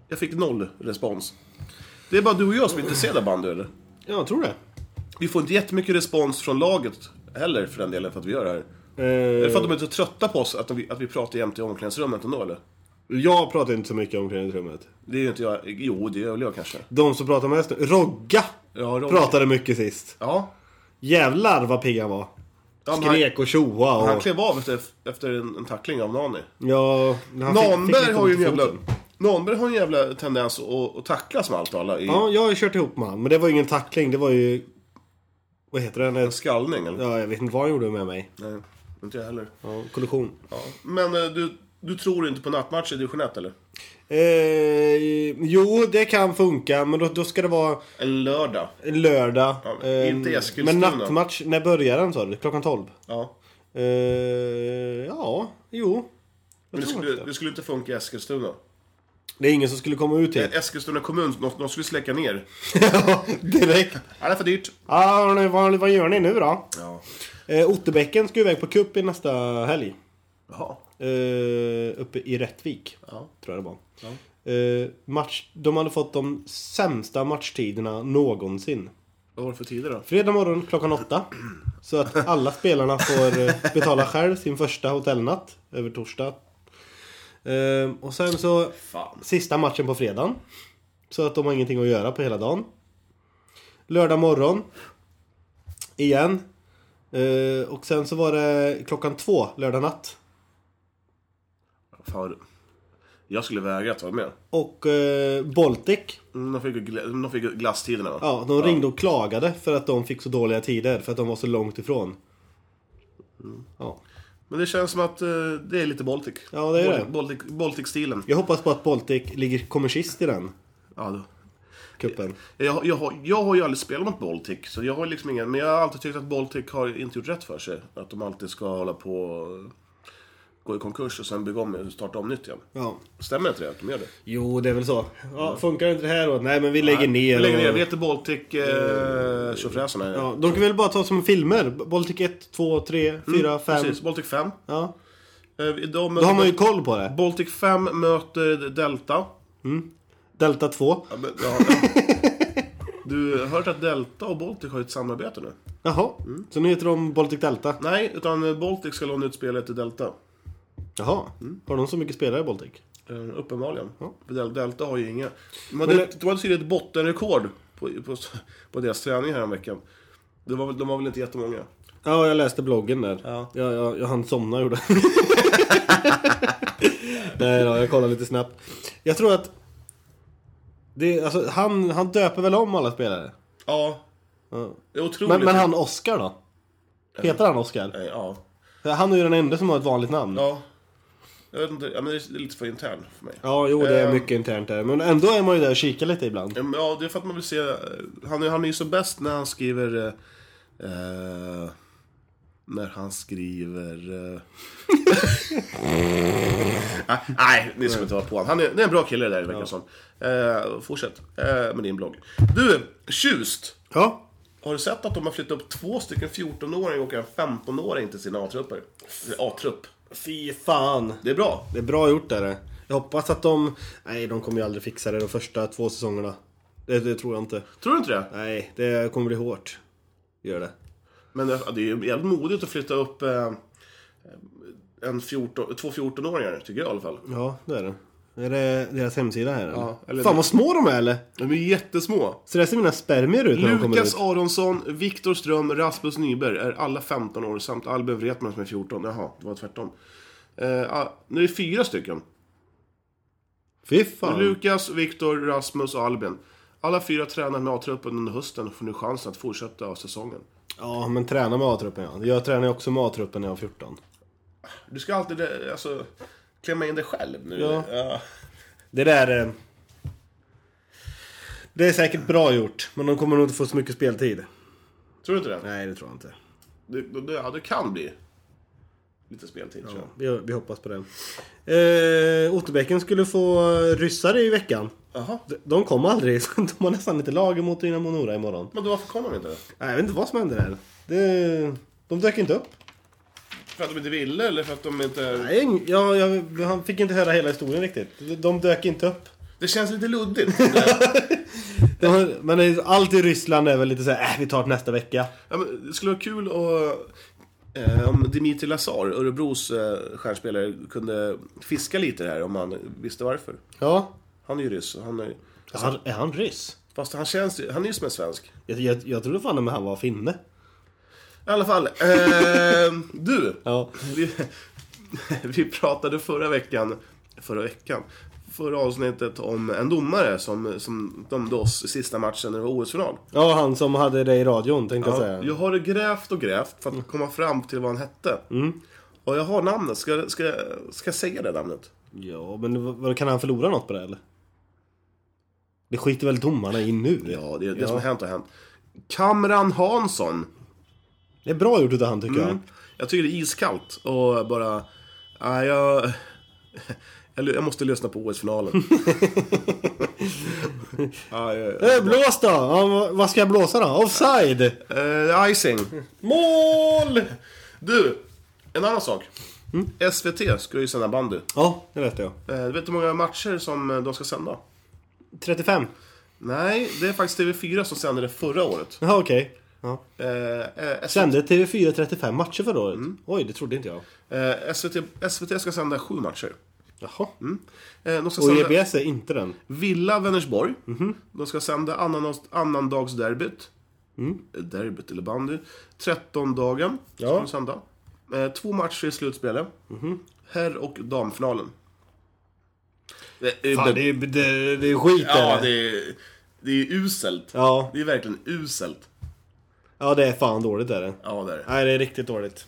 Speaker 2: Jag fick noll respons. Det är bara du och jag som är intresserade av bandy eller?
Speaker 3: Ja, jag tror det.
Speaker 2: Vi får inte jättemycket respons från laget heller för den delen för att vi gör det här. Är
Speaker 3: Eh,
Speaker 2: det för att de är så trötta på oss att, de, att vi pratar jämt i omklädningsrummet ändå eller?
Speaker 3: Jag pratar inte så mycket om omklädningsrummet.
Speaker 2: Det är ju inte jag. Jo, det gör väl jag kanske.
Speaker 3: De som pratar mest nu, Rogga!
Speaker 2: Ja, Rogge.
Speaker 3: Pratade mycket sist.
Speaker 2: Ja.
Speaker 3: Jävlar vad pigg han var.
Speaker 2: ja men
Speaker 3: Skrek och tjoa och...
Speaker 2: han, han klev av efter, efter en, en tackling av Nani.
Speaker 3: Ja, han fick-
Speaker 2: Nanberg
Speaker 3: fick lite
Speaker 2: har ju
Speaker 3: ont
Speaker 2: en
Speaker 3: i
Speaker 2: jävla...
Speaker 3: foten.
Speaker 2: Nanberg har en jävla tendens att, att tacklas med allt och alla i
Speaker 3: Ja, jag har ju kört ihop med han. Men det var ju ingen tackling, det var ju... Vad heter den?
Speaker 2: en skallning eller?
Speaker 3: Ja, jag vet inte vad han gjorde med mig.
Speaker 2: Nej, inte jag heller.
Speaker 3: Ja, kollision.
Speaker 2: Ja. Men eh, du, du tror inte på nattmatcher i division 1 eller?
Speaker 3: Eh, jo, det kan funka, men då, då ska det vara
Speaker 2: En lördag.
Speaker 3: en lördag. Eh,
Speaker 2: Ja, men inte i Eskilstuna.
Speaker 3: Men nattmatch, när börjar den sa du? Klockan 12?
Speaker 2: Ja.
Speaker 3: Eh, ja, jo.
Speaker 2: Men det
Speaker 3: tror
Speaker 2: skulle,
Speaker 3: inte.
Speaker 2: det skulle inte funka i Eskilstuna.
Speaker 3: Det är ingen som skulle komma ut hit.
Speaker 2: Eskilstuna kommun, de, de skulle släcka ner.
Speaker 3: Direkt.
Speaker 2: Ja, det är för dyrt.
Speaker 3: Ah, hörni, vad, vad gör ni nu då?
Speaker 2: Ja.
Speaker 3: Eh, Otterbäcken ska ju iväg på cup i nästa helg.
Speaker 2: Jaha.
Speaker 3: eh, uppe i Rättvik.
Speaker 2: Ja.
Speaker 3: Tror jag det var.
Speaker 2: Ja.
Speaker 3: Eh, match, de hade fått de sämsta matchtiderna någonsin.
Speaker 2: Vad var det för tider då?
Speaker 3: Fredag morgon klockan åtta. Så att alla spelarna får eh, betala själv sin första hotellnatt över torsdag. Eh, och sen så
Speaker 2: Fan.
Speaker 3: sista matchen på fredagen. Så att de har ingenting att göra på hela dagen. Lördag morgon. Igen. Eh, och sen så var det klockan två lördag natt.
Speaker 2: Fan. Jag skulle vägra ta med.
Speaker 3: Och eh, Baltic
Speaker 2: Mm, De fick, ju gla- de fick ju glasstiderna va?
Speaker 3: Ja, de ringde och klagade för att de fick så dåliga tider, för att de var så långt ifrån. Ja.
Speaker 2: Men det känns som att eh, det är lite Baltic.
Speaker 3: Ja, det är
Speaker 2: Bal-
Speaker 3: det.
Speaker 2: Baltic, Baltic-stilen.
Speaker 3: Jag hoppas på att Baltic ligger, kommer sist i den
Speaker 2: Ja, då.
Speaker 3: kuppen.
Speaker 2: jag, jag, har, jag har ju aldrig spelat mot Baltic, så jag har liksom ingen... Men jag har alltid tyckt att Baltic har inte gjort rätt för sig. Att de alltid ska hålla på och gå i konkurs och sen bygga om och starta om nytt igen.
Speaker 3: Ja.
Speaker 2: Stämmer inte det att de gör det?
Speaker 3: Jo, det är väl så. Ja, funkar inte det här då? Nej, men vi lägger ner.
Speaker 2: Vi lägger
Speaker 3: och-
Speaker 2: ner. Vi heter Baltic... Eh, Tjofräsarna.
Speaker 3: Ja, de kan väl bara ta som filmer? Baltic 1, 2, 3, 4, 5.
Speaker 2: Precis, Baltic 5. Eh,
Speaker 3: Ja.
Speaker 2: de,
Speaker 3: Då har man ju koll på det.
Speaker 2: Baltic 5 möter Delta.
Speaker 3: Delta 2.
Speaker 2: Ja, men, ja. Du har hört att Delta och Baltic har ett samarbete nu?
Speaker 3: Jaha, så nu heter de Baltic Delta.
Speaker 2: Nej, utan Baltic ska låna ut spelet till Delta.
Speaker 3: Jaha, har de så mycket spelare i Baltic?
Speaker 2: Eh, Uppenbarligen.
Speaker 3: Ja.
Speaker 2: För Del- Delta har ju inga. De hade,
Speaker 3: det-
Speaker 2: de hade tydligen ett bottenrekord på, på, på deras träning här en veckan. Det var, väl- de var väl inte jättemånga.
Speaker 3: Ja, jag läste bloggen där.
Speaker 2: Ja.
Speaker 3: Jag, jag, jag hann somna gjorde jag. Nej då, jag kollar lite snabbt. Jag tror att... Det, alltså, han, han döper väl om alla spelare?
Speaker 2: Ja,
Speaker 3: Ja.
Speaker 2: det är otroligt.
Speaker 3: Men, men han Oscar då? Heter han Oscar?
Speaker 2: Nej, ja.
Speaker 3: Han är ju den enda som har ett vanligt namn. Ja,
Speaker 2: ja. Jag vet inte, ja, men det är lite för intern för mig.
Speaker 3: jo det är
Speaker 2: Ehm.
Speaker 3: mycket internt där. Men ändå är man ju där och kikar lite ibland.
Speaker 2: Ja, men, ja, det är för att man vill se... eh, Han, är- han är ju så bäst när han skriver... eh, Eh, när han skriver... Eh, Ah, nej, ni ska inte vara på honom. Han är, det är en bra kille det där, det verkar som. Eh, fortsätt eh, med din blogg. Du, Tjust!
Speaker 3: Ja.
Speaker 2: Har du sett att de har flyttat upp två stycken 14-åringar och en 15-åring till sina A-trupper? A-trupp.
Speaker 3: Fy fan.
Speaker 2: Det är bra.
Speaker 3: Det är bra gjort där. det. Jag hoppas att de... Nej, de kommer ju aldrig fixa det de första två säsongerna. Det, det tror jag inte.
Speaker 2: Tror du inte det?
Speaker 3: Nej, det kommer bli hårt. Gör det.
Speaker 2: Men det, det är ju jävligt modigt att flytta upp eh, en 14, två 14-åringar, tycker jag i alla fall.
Speaker 3: Ja, det är det. Är det deras hemsida här eller?
Speaker 2: Ja, eller-
Speaker 3: Fan vad små de är eller?
Speaker 2: De är jättesmå.
Speaker 3: Så det ser mina spermier ut när de kommer
Speaker 2: Lukas
Speaker 3: ut.
Speaker 2: Aronsson, Viktor Ström, Rasmus Nyberg är alla 15 år samt Albin Wretman som är 14. Jaha, det var tvärtom. Eh, ah, nu är det fyra stycken.
Speaker 3: Fy fan.
Speaker 2: Lukas, Viktor, Rasmus och Albin. Alla fyra tränar med A-truppen under hösten och får nu chansen att fortsätta av säsongen.
Speaker 3: Ja, men träna med A-truppen ja. Jag tränar ju också med A-truppen när jag var 14.
Speaker 2: Du ska alltid eh, alltså, klämma in dig själv nu.
Speaker 3: Ja.
Speaker 2: Ja.
Speaker 3: Det där... eh, Det är säkert bra gjort, men de kommer nog inte få så mycket speltid.
Speaker 2: Tror du inte det?
Speaker 3: Nej, det tror jag inte.
Speaker 2: Det, det, ja, det kan bli lite speltid tror jag.
Speaker 3: Vi, vi hoppas på det. Eh, Otterbäcken skulle få ryssare i veckan.
Speaker 2: Jaha.
Speaker 3: De- De kom aldrig, så de har nästan lite lag mot Dynamo Nora imorgon.
Speaker 2: Men då varför kom de inte?
Speaker 3: Nej, jag vet inte vad som hände där. Det, de dök inte upp.
Speaker 2: För att de inte ville eller för att de inte...
Speaker 3: Nej, ing- jag, jag, han fick inte höra hela historien riktigt. De- De dök inte upp.
Speaker 2: Det känns lite luddigt.
Speaker 3: De, har- men det är- allt i Ryssland är väl lite såhär, äh, vi tar det nästa vecka.
Speaker 2: ja, men det skulle vara kul att... Eh, om Dimitri Lazar, Örebros eh, stjärnspelare, kunde fiska lite här om han visste varför.
Speaker 3: Ja.
Speaker 2: Han är ju ryss. och Han är,
Speaker 3: Är han, är han ryss?
Speaker 2: fast han känns ju... Han är ju som en svensk.
Speaker 3: Jag, jag, jag trodde fan att han var finne.
Speaker 2: I alla fall. Eh, du!
Speaker 3: Ja.
Speaker 2: Vi, vi pratade förra veckan, förra veckan, förra avsnittet om en domare som, som dömde oss i sista matchen när det var OS-final.
Speaker 3: Ja, han som hade det i radion tänkte jag
Speaker 2: Ja,
Speaker 3: säga. Mm.
Speaker 2: jag har grävt och grävt för att komma fram till vad han hette. Och jag har namnet, ska, ska, ska jag säga det namnet?
Speaker 3: Ja, men vad- vad, kan han förlora något på det eller? Det skiter väl domarna i nu?
Speaker 2: Ja, det, det som har hänt har hänt. Kamran Hansson.
Speaker 3: Det är bra gjort utav han tycker jag.
Speaker 2: Jag tycker det är iskallt och bara... Nej, jag... Jag, jag måste lyssna på OS-finalen. ja, ja, ja.
Speaker 3: Eh, blås då! Ja, vad- vad ska jag blåsa då? Offside!
Speaker 2: Eh, icing.
Speaker 3: Mål!
Speaker 2: Du, en annan sak. SVT ska ju sända bandy. Eh,
Speaker 3: Ja, det vet jag.
Speaker 2: Du vet hur många matcher som eh, de ska sända?
Speaker 3: 35.
Speaker 2: Nej, det är faktiskt TV4 som sände det förra året.
Speaker 3: Jaha, okej. Ja.
Speaker 2: Eh, eh, S-
Speaker 3: Sände TV4 35 matcher förra året? Oj, det trodde inte jag.
Speaker 2: eh, SVT, SVT ska sända sju matcher.
Speaker 3: Jaha.
Speaker 2: Eh, De ska
Speaker 3: Mm. Och E
Speaker 2: sända
Speaker 3: EBS är inte den.
Speaker 2: Villa Vänersborg. De ska sända annanos- annandagsderbyt. Eh, Derbyt eller bandy. 13 dagen ska
Speaker 3: Mm. Ja. Mhm.
Speaker 2: de sända. Eh, Två matcher i slutspelet. Herr och damfinalen. Eh, eh,
Speaker 3: Fan,
Speaker 2: det-
Speaker 3: det är, det, det är skit
Speaker 2: Ja,
Speaker 3: är
Speaker 2: det
Speaker 3: det.
Speaker 2: är, det är uselt.
Speaker 3: Ja.
Speaker 2: Det är verkligen uselt.
Speaker 3: ja, det är fan dåligt är det.
Speaker 2: Ja, det är det.
Speaker 3: Nej, det är riktigt dåligt.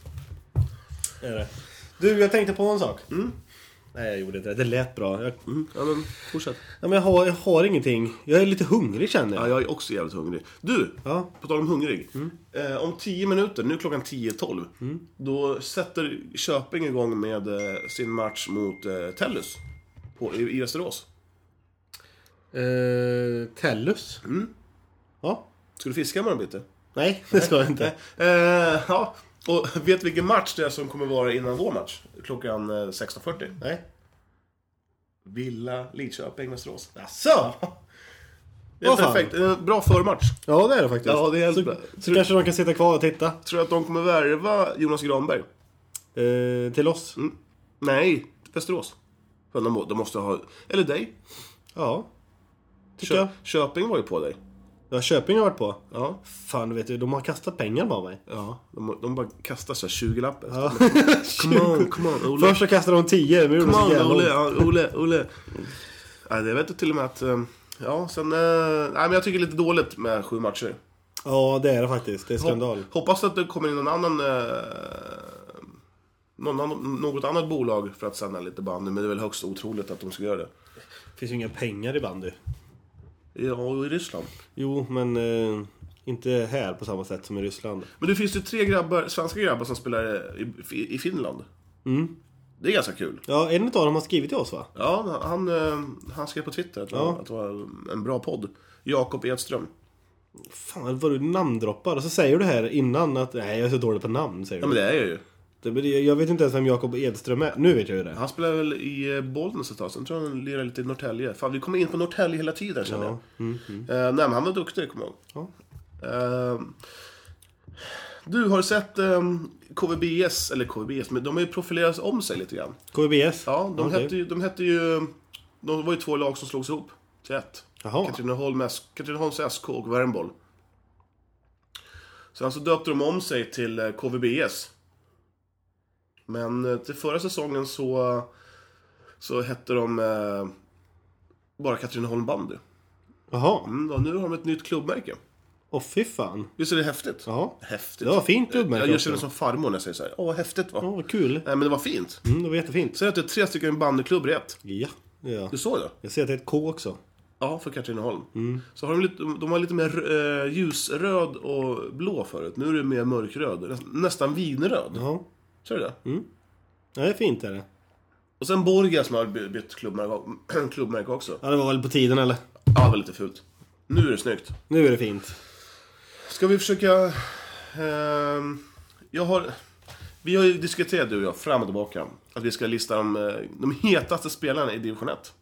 Speaker 3: Det är det. Mm. Du, jag tänkte på en sak. Nej, jag gjorde inte det. Det lät bra. Jag,
Speaker 2: Mm. Ja, men fortsätt.
Speaker 3: ja, men jag, har, jag har ingenting. Jag är lite hungrig känner
Speaker 2: Ja,
Speaker 3: jag.
Speaker 2: jag är också jävligt hungrig. Du,
Speaker 3: Ja.
Speaker 2: på tal om hungrig. Eh, om 10 minuter, nu är klockan 10.12, då sätter Köping igång med eh, sin match mot eh, Tellus på, i, i Västerås.
Speaker 3: Eh, tellus? Ja.
Speaker 2: Ska du fiska med dem lite?
Speaker 3: Mm. Nej, det ska jag inte.
Speaker 2: Eh, ja, och vet vilken match det är som kommer vara innan vår match? Klockan eh, 16.40.
Speaker 3: Nej.
Speaker 2: Villa, Lidköping, Västerås.
Speaker 3: Jaså?
Speaker 2: Det är
Speaker 3: Vad fan.
Speaker 2: perfekt, en bra förmatch.
Speaker 3: Ja, det är det faktiskt.
Speaker 2: Ja, det är helt
Speaker 3: så,
Speaker 2: bra.
Speaker 3: så kanske de kan sitta kvar och titta.
Speaker 2: Tror du att de kommer värva Jonas Granberg?
Speaker 3: Eh, till oss.
Speaker 2: Mm. Nej, Västerås. Fan, De må- de måste ha... Eller dig.
Speaker 3: Ja. Tycker
Speaker 2: Kö,
Speaker 3: jag.
Speaker 2: Köping var ju på dig.
Speaker 3: Ja, Köping har jag varit på.
Speaker 2: Ja.
Speaker 3: Fan, du vet du, de har kastat pengar på mig.
Speaker 2: ja. De, de bara kastar så här 20 lappar
Speaker 3: Ja.
Speaker 2: Come on, come on, Ole.
Speaker 3: Först så kastade de 10, men gjorde
Speaker 2: come
Speaker 3: så
Speaker 2: on,
Speaker 3: jävla
Speaker 2: Ole,
Speaker 3: ont.
Speaker 2: ja, Ole, Ole. Nej, det vet du till och med att... eh, Ja, sen... eh, Nej, men jag tycker det är lite dåligt med sju matcher.
Speaker 3: Ja, det är det faktiskt. Det är skandal.
Speaker 2: Hop- Hoppas att det kommer in någon annan... eh, Någon, annan- något annat bolag för att sända lite bandy, men det är väl högst otroligt att de ska göra det.
Speaker 3: Det finns ju inga pengar i bandy.
Speaker 2: Ja, och i Ryssland.
Speaker 3: Jo, men eh, inte här på samma sätt som i Ryssland.
Speaker 2: Men det finns ju tre grabbar, svenska grabbar som spelar i, i Finland.
Speaker 3: Mm.
Speaker 2: Det är ganska kul.
Speaker 3: Ja, en utav dem har skrivit till oss va?
Speaker 2: Ja, han, eh, han skrev på Twitter att, det
Speaker 3: Ja.
Speaker 2: var- att det var en bra podd. Jakob Edström.
Speaker 3: Fan vad du namndroppar. Och så säger du här innan att nej, jag är så dålig på namn. Säger
Speaker 2: Ja, men
Speaker 3: du.
Speaker 2: det är jag ju.
Speaker 3: Det, men jag- jag vet inte ens vem Jakob Edström är. Nu vet jag ju det.
Speaker 2: Han spelar väl i eh, Bollnäs ett tag, sen tror jag han lirar lite i Norrtälje. Fan, vi kommer in på Norrtälje hela tiden känner
Speaker 3: Ja. Mm.
Speaker 2: jag. Eh, nej, men han var duktig, kommer jag ihåg. Eh, du, har du sett eh, KVBS, eller KVBS, men de har ju profilerat om sig lite grann.
Speaker 3: KBS?
Speaker 2: Ja, de,
Speaker 3: Okej.
Speaker 2: hette ju, de hette ju... De var ju två lag som slogs ihop till ett.
Speaker 3: Jaha.
Speaker 2: Katrineholm S- Katrineholms SK och Värmboll. Sen så alltså döpte de om sig till eh, KVBS. Men eh, till förra säsongen så, så hette de eh, bara Katrineholm Bandy.
Speaker 3: Jaha.
Speaker 2: Mm, och nu har de ett nytt klubbmärke.
Speaker 3: Åh fy fan.
Speaker 2: Visst är det häftigt?
Speaker 3: Ja.
Speaker 2: Häftigt.
Speaker 3: Det var fint klubbmärke
Speaker 2: Jag, jag
Speaker 3: också.
Speaker 2: känner som farmor när jag säger så här. Åh, häftigt va?
Speaker 3: Ja, vad kul.
Speaker 2: Nej, men det var fint.
Speaker 3: Mm, det var jättefint.
Speaker 2: Sen att det är tre stycken bandyklubb rätt.
Speaker 3: Ja, det gör
Speaker 2: Du
Speaker 3: jag.
Speaker 2: såg det?
Speaker 3: Jag ser att det är ett K också.
Speaker 2: Ja, för Katrineholm. Så har de, lite, de har lite mer eh, ljusröd och blå förut. Nu är det mer mörkröd. Nä- Nästan vinröd.
Speaker 3: Ja.
Speaker 2: Ser du det?
Speaker 3: Ja, det är fint är det.
Speaker 2: Och sen Borga som har by- bytt klubbmärke, klubbmärke också.
Speaker 3: Ja, det var väl på tiden eller?
Speaker 2: Ja, det var lite fult. Nu är det snyggt.
Speaker 3: Nu är det fint.
Speaker 2: Ska vi försöka... ehm, jag har... Vi har ju diskuterat du och jag, fram och tillbaka, att vi ska lista de, eh, de hetaste spelarna i division 1.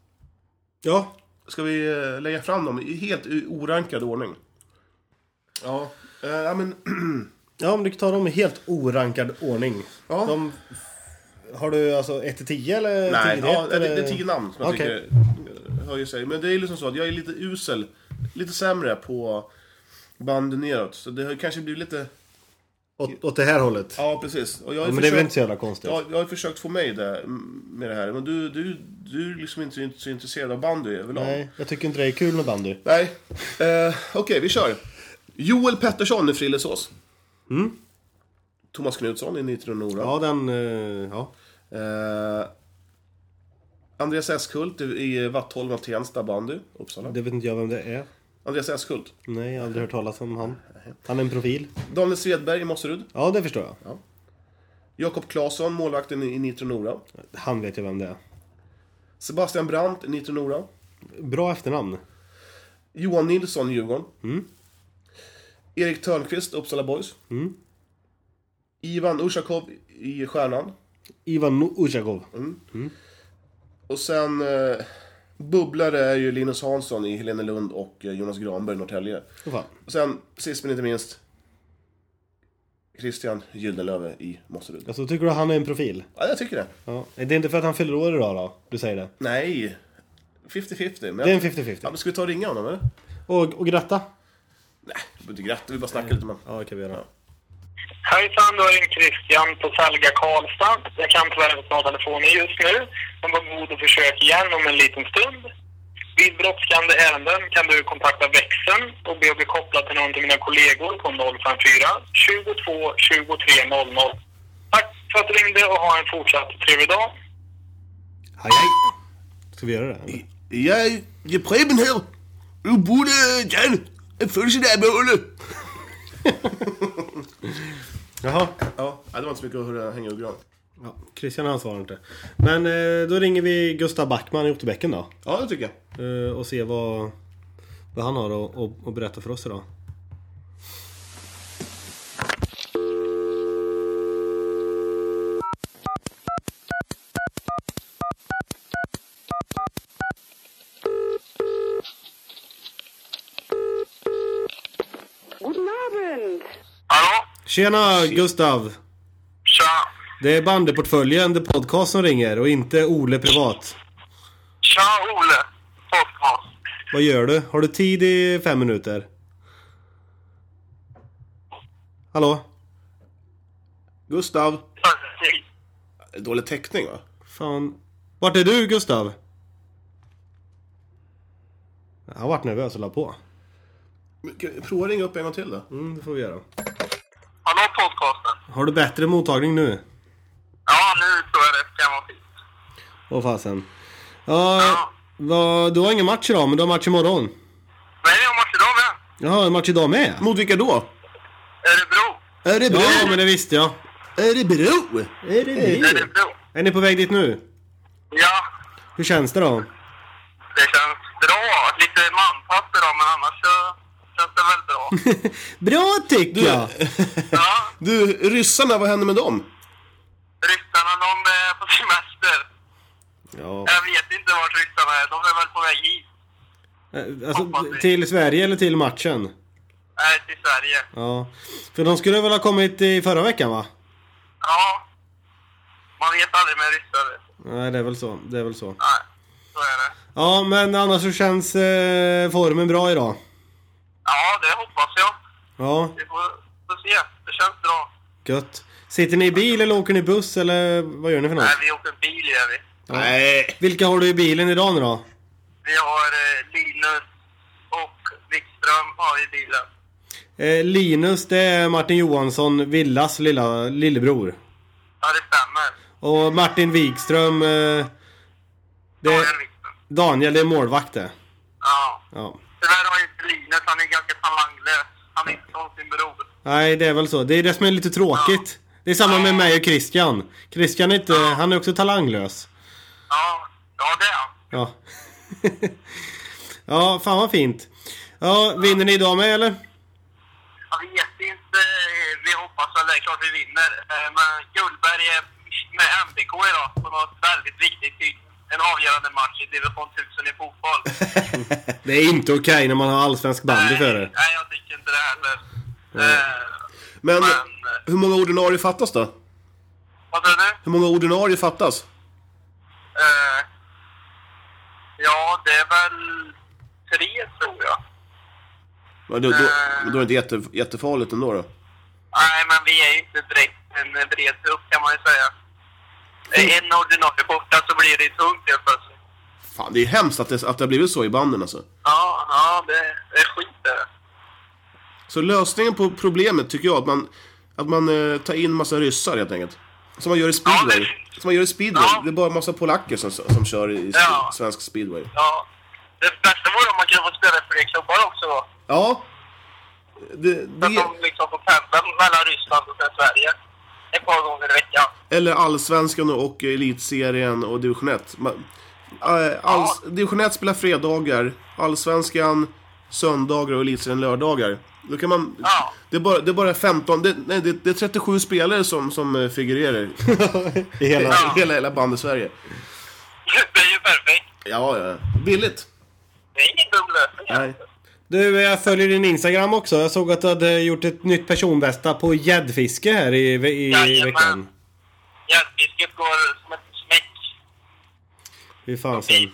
Speaker 3: Ja.
Speaker 2: Ska vi eh, lägga fram dem i helt i orankad ordning? Ja, eh, ja men...
Speaker 3: Ja, om du tar dem i helt orankad ordning.
Speaker 2: Ja.
Speaker 3: De, har du alltså 1 till 10 eller?
Speaker 2: Nej,
Speaker 3: 10 till
Speaker 2: ja,
Speaker 3: ett,
Speaker 2: det,
Speaker 3: eller?
Speaker 2: det är tio namn som jag
Speaker 3: Okej.
Speaker 2: tycker höjer sig. Men det är liksom så att jag är lite usel, lite sämre på band neråt. Så det har kanske blivit lite...
Speaker 3: Åt, åt det här hållet?
Speaker 2: Ja, precis. Och jag har
Speaker 3: men det är väl inte så jävla konstigt?
Speaker 2: jag, jag har försökt få mig det, med det här. Men du, du, du är liksom inte så intresserad av bandy överlag.
Speaker 3: Nej, jag tycker inte det är kul med bandy.
Speaker 2: Nej. Eh, Okej, vi kör. Joel Pettersson i Frillesås.
Speaker 3: Mm.
Speaker 2: Thomas Knutsson i Nitro Nora.
Speaker 3: Ja, den... eh, Ja.
Speaker 2: Eh, Andreas Eskult i- i Vattholma Tensta bandy, Uppsala.
Speaker 3: Det vet inte jag vem det är.
Speaker 2: Andreas Eskult.
Speaker 3: Nej, jag har aldrig hört talas om han. Han är en profil.
Speaker 2: Daniel Svedberg i Mosserud.
Speaker 3: Ja, det förstår jag.
Speaker 2: Jakob Claesson, målvakten i i Nitro Nora.
Speaker 3: Han vet ju vem det är.
Speaker 2: Sebastian Brandt i Nitro Nora.
Speaker 3: Bra efternamn.
Speaker 2: Johan Nilsson i Djurgården.
Speaker 3: Mm. Mm.
Speaker 2: Erik Törnqvist, Uppsala Boys. Ivan Ushakov i Stjärnan.
Speaker 3: Ivan Uzjagov.
Speaker 2: Och sen... Eh, bubblare är ju Linus Hansson i Helenelund och eh, Jonas Granberg i Norrtälje.
Speaker 3: Åh, fan.
Speaker 2: Och sen, sist men inte minst... Christian Gyldenlöve i Mosserud.
Speaker 3: Alltså tycker du han är en profil?
Speaker 2: Ja, jag tycker det.
Speaker 3: Ja. Det är inte för att han fyller år idag då? Du säger det?
Speaker 2: Nej. 50-50. Men
Speaker 3: Det är en
Speaker 2: jag... ja,
Speaker 3: 50-50.
Speaker 2: men ska vi ta och ringa honom eller?
Speaker 3: Och, och gratta.
Speaker 2: Nej, vi behöver inte gratta. Vi bara snackar lite med honom.
Speaker 3: Ja, det kan vi göra.
Speaker 4: Hejsan, du har ringt Christian på Salga Karlstad. Jag kan tyvärr inte ta telefonen just nu, men var god och försök igen om en liten stund. Vid brådskande ärenden kan du kontakta växeln och be att bli kopplad till någon av mina kollegor på 054 22 23 00. Tack för att du ringde och ha en fortsatt trevlig dag.
Speaker 3: Hej, hej. Ska vi göra det? eller?
Speaker 2: Jag är Preben här. Du borde... Jan, jag födelsedagsbarnet.
Speaker 3: Jaha.
Speaker 2: Ja, nej, det var inte så mycket att höra, hänga och gran.
Speaker 3: Ja, Christian han svarar inte. Men eh, då ringer vi Gustav Backman i Otterbäcken då.
Speaker 2: Ja, det tycker jag.
Speaker 3: Eh, och ser vad, vad han har att, att, att berätta för oss idag.
Speaker 5: Guten Abend.
Speaker 4: Hallå?
Speaker 3: Tjena Gustav!
Speaker 4: Tja!
Speaker 3: Det är Bandyportföljen, The Podcast som ringer och inte Ole Privat.
Speaker 4: Tja, Ole! Podcast.
Speaker 3: Vad gör du? Har du tid i fem minuter? Hallå?
Speaker 2: Gustav. Dålig täckning va?
Speaker 3: Fan. Vart är du Gustav? Han vart nervös och la på.
Speaker 2: Men kan vi Prova ringa upp en gång till då.
Speaker 3: Mm, det får vi göra.
Speaker 4: Hallå, podcasten.
Speaker 3: Har du bättre mottagning nu?
Speaker 4: Ja, nu tror jag det ska vara fint.
Speaker 3: Åh fasen. Ja, vad, du har ingen match idag, men du har match imorgon.
Speaker 4: Nej, jag måste idag med.
Speaker 3: Jaha, en match idag med?
Speaker 2: Mot vilka då?
Speaker 4: Örebro.
Speaker 2: Örebro!
Speaker 3: Ja, men det visste jag.
Speaker 2: Örebro!
Speaker 4: Örebro.
Speaker 3: Är ni på väg dit nu?
Speaker 4: Ja,
Speaker 3: Hur känns det då?
Speaker 4: Det känns bra. Lite manpass idag, men annars så känns det väl bra.
Speaker 3: Bra tycker jag!
Speaker 4: Ja,
Speaker 2: Du, ryssarna, vad händer med dem?
Speaker 4: ryssarna de är på semester.
Speaker 3: Ja.
Speaker 4: Jag vet inte vart ryssarna är. De är väl på väg hit.
Speaker 3: Eh, Alltså, till Sverige eller till matchen?
Speaker 4: Nej, till Sverige.
Speaker 3: Ja. För de skulle väl ha kommit i förra veckan va?
Speaker 4: Ja. Man vet aldrig med ryssar.
Speaker 3: Nej, det är väl så. Det är väl så.
Speaker 4: Nej, så är det.
Speaker 3: Ja, men annars så känns eh, formen bra idag.
Speaker 4: Ja, det hoppas jag.
Speaker 3: Ja,
Speaker 4: Vi får, får se. Det känns bra.
Speaker 3: gött. Sitter ni i bil eller åker ni buss eller vad gör ni för något?
Speaker 4: Nej, vi åker bil, gör vi.
Speaker 2: Nej.
Speaker 3: Vilka har du i bilen idag nu då?
Speaker 4: Vi har eh, Linus och Wikström har vi i bilen.
Speaker 3: Eh, Linus, det är Martin Johansson, Villas lilla, lillebror.
Speaker 4: Ja, det stämmer.
Speaker 3: Och Martin Wikström, eh, det
Speaker 4: Daniel
Speaker 3: är
Speaker 4: Wikström.
Speaker 3: Daniel, det är målvakt det.
Speaker 4: Ja.
Speaker 3: Ja.
Speaker 4: Tyvärr har ju inte Linus, han är ganska talanglös. Han är inte som sin bror.
Speaker 3: Nej, det är väl så. Det är det som är lite tråkigt. Det är samma med mig och Christian. Christian är inte, han är också talanglös.
Speaker 4: Ja, ja det är han.
Speaker 3: Ja. ja, fan vad fint. Ja, vinner ni idag med eller?
Speaker 4: Jag vet inte, eh, vi hoppas väl det, är klart vi vinner. Eh, Men Gullberg är med MBK idag på något väldigt viktigt. i En avgörande match i division 1000 i fotboll.
Speaker 3: Det är inte okej när man har allsvensk bandy för det.
Speaker 4: Nej, jag tycker inte det heller. Eh,
Speaker 2: Men
Speaker 4: Men, eh,
Speaker 2: hur många ordinarie fattas då?
Speaker 4: vad sa du?
Speaker 2: Hur många ordinarie fattas?
Speaker 4: Eh, Ja, det är väl tre tror jag.
Speaker 2: Ja, då, då, då är det inte jätte, jättefarligt ändå då.
Speaker 4: Nej, men vi är ju inte direkt en bred trupp kan man ju säga.
Speaker 3: Mm.
Speaker 4: Är en ordinarie borta så blir det ju tungt helt plötsligt.
Speaker 2: Fan, det är hemskt att det, att det har blivit så i banden alltså.
Speaker 4: Ja, ja, det, det är skit det.
Speaker 2: Så lösningen på problemet tycker jag att man, att man eh, tar in massa ryssar helt enkelt. Som man gör i speedway.
Speaker 4: Ja,
Speaker 2: Som man gör i speedway.
Speaker 4: Ja.
Speaker 2: Det är bara massa polacker som, som kör i
Speaker 4: Ja.
Speaker 2: svensk speedway.
Speaker 4: Ja. Det bästa vore om man kunde få spela i fler klubbar också då.
Speaker 2: Ja. Det,
Speaker 4: Så att
Speaker 2: det,
Speaker 4: de liksom får pendla mellan Ryssland och sen Sverige. Ett par gånger i veckan.
Speaker 2: eller Allsvenskan och Elitserien och Division 1. Man, eh, alls, Division 1 spelar fredagar. Allsvenskan söndagar och elitserien lördagar. Då kan man...
Speaker 4: Ja.
Speaker 2: Det, är bara, det är bara 15... Det, nej, det, det är 37 spelare som, som eh, figurerar.
Speaker 3: I hela...
Speaker 2: Hela, hela, hela bandet Sverige.
Speaker 4: Det är ju perfekt.
Speaker 2: Ja, ja. Billigt.
Speaker 4: Det är ingen dum lösning.
Speaker 2: Nej.
Speaker 3: Du, jag följer din Instagram också. Jag såg att du hade gjort ett nytt personbästa på gäddfiske här i, i, i
Speaker 4: Jajamän.
Speaker 3: veckan.
Speaker 4: Gäddfisket går som ett smäck.
Speaker 3: Fy fasen.
Speaker 4: Nej,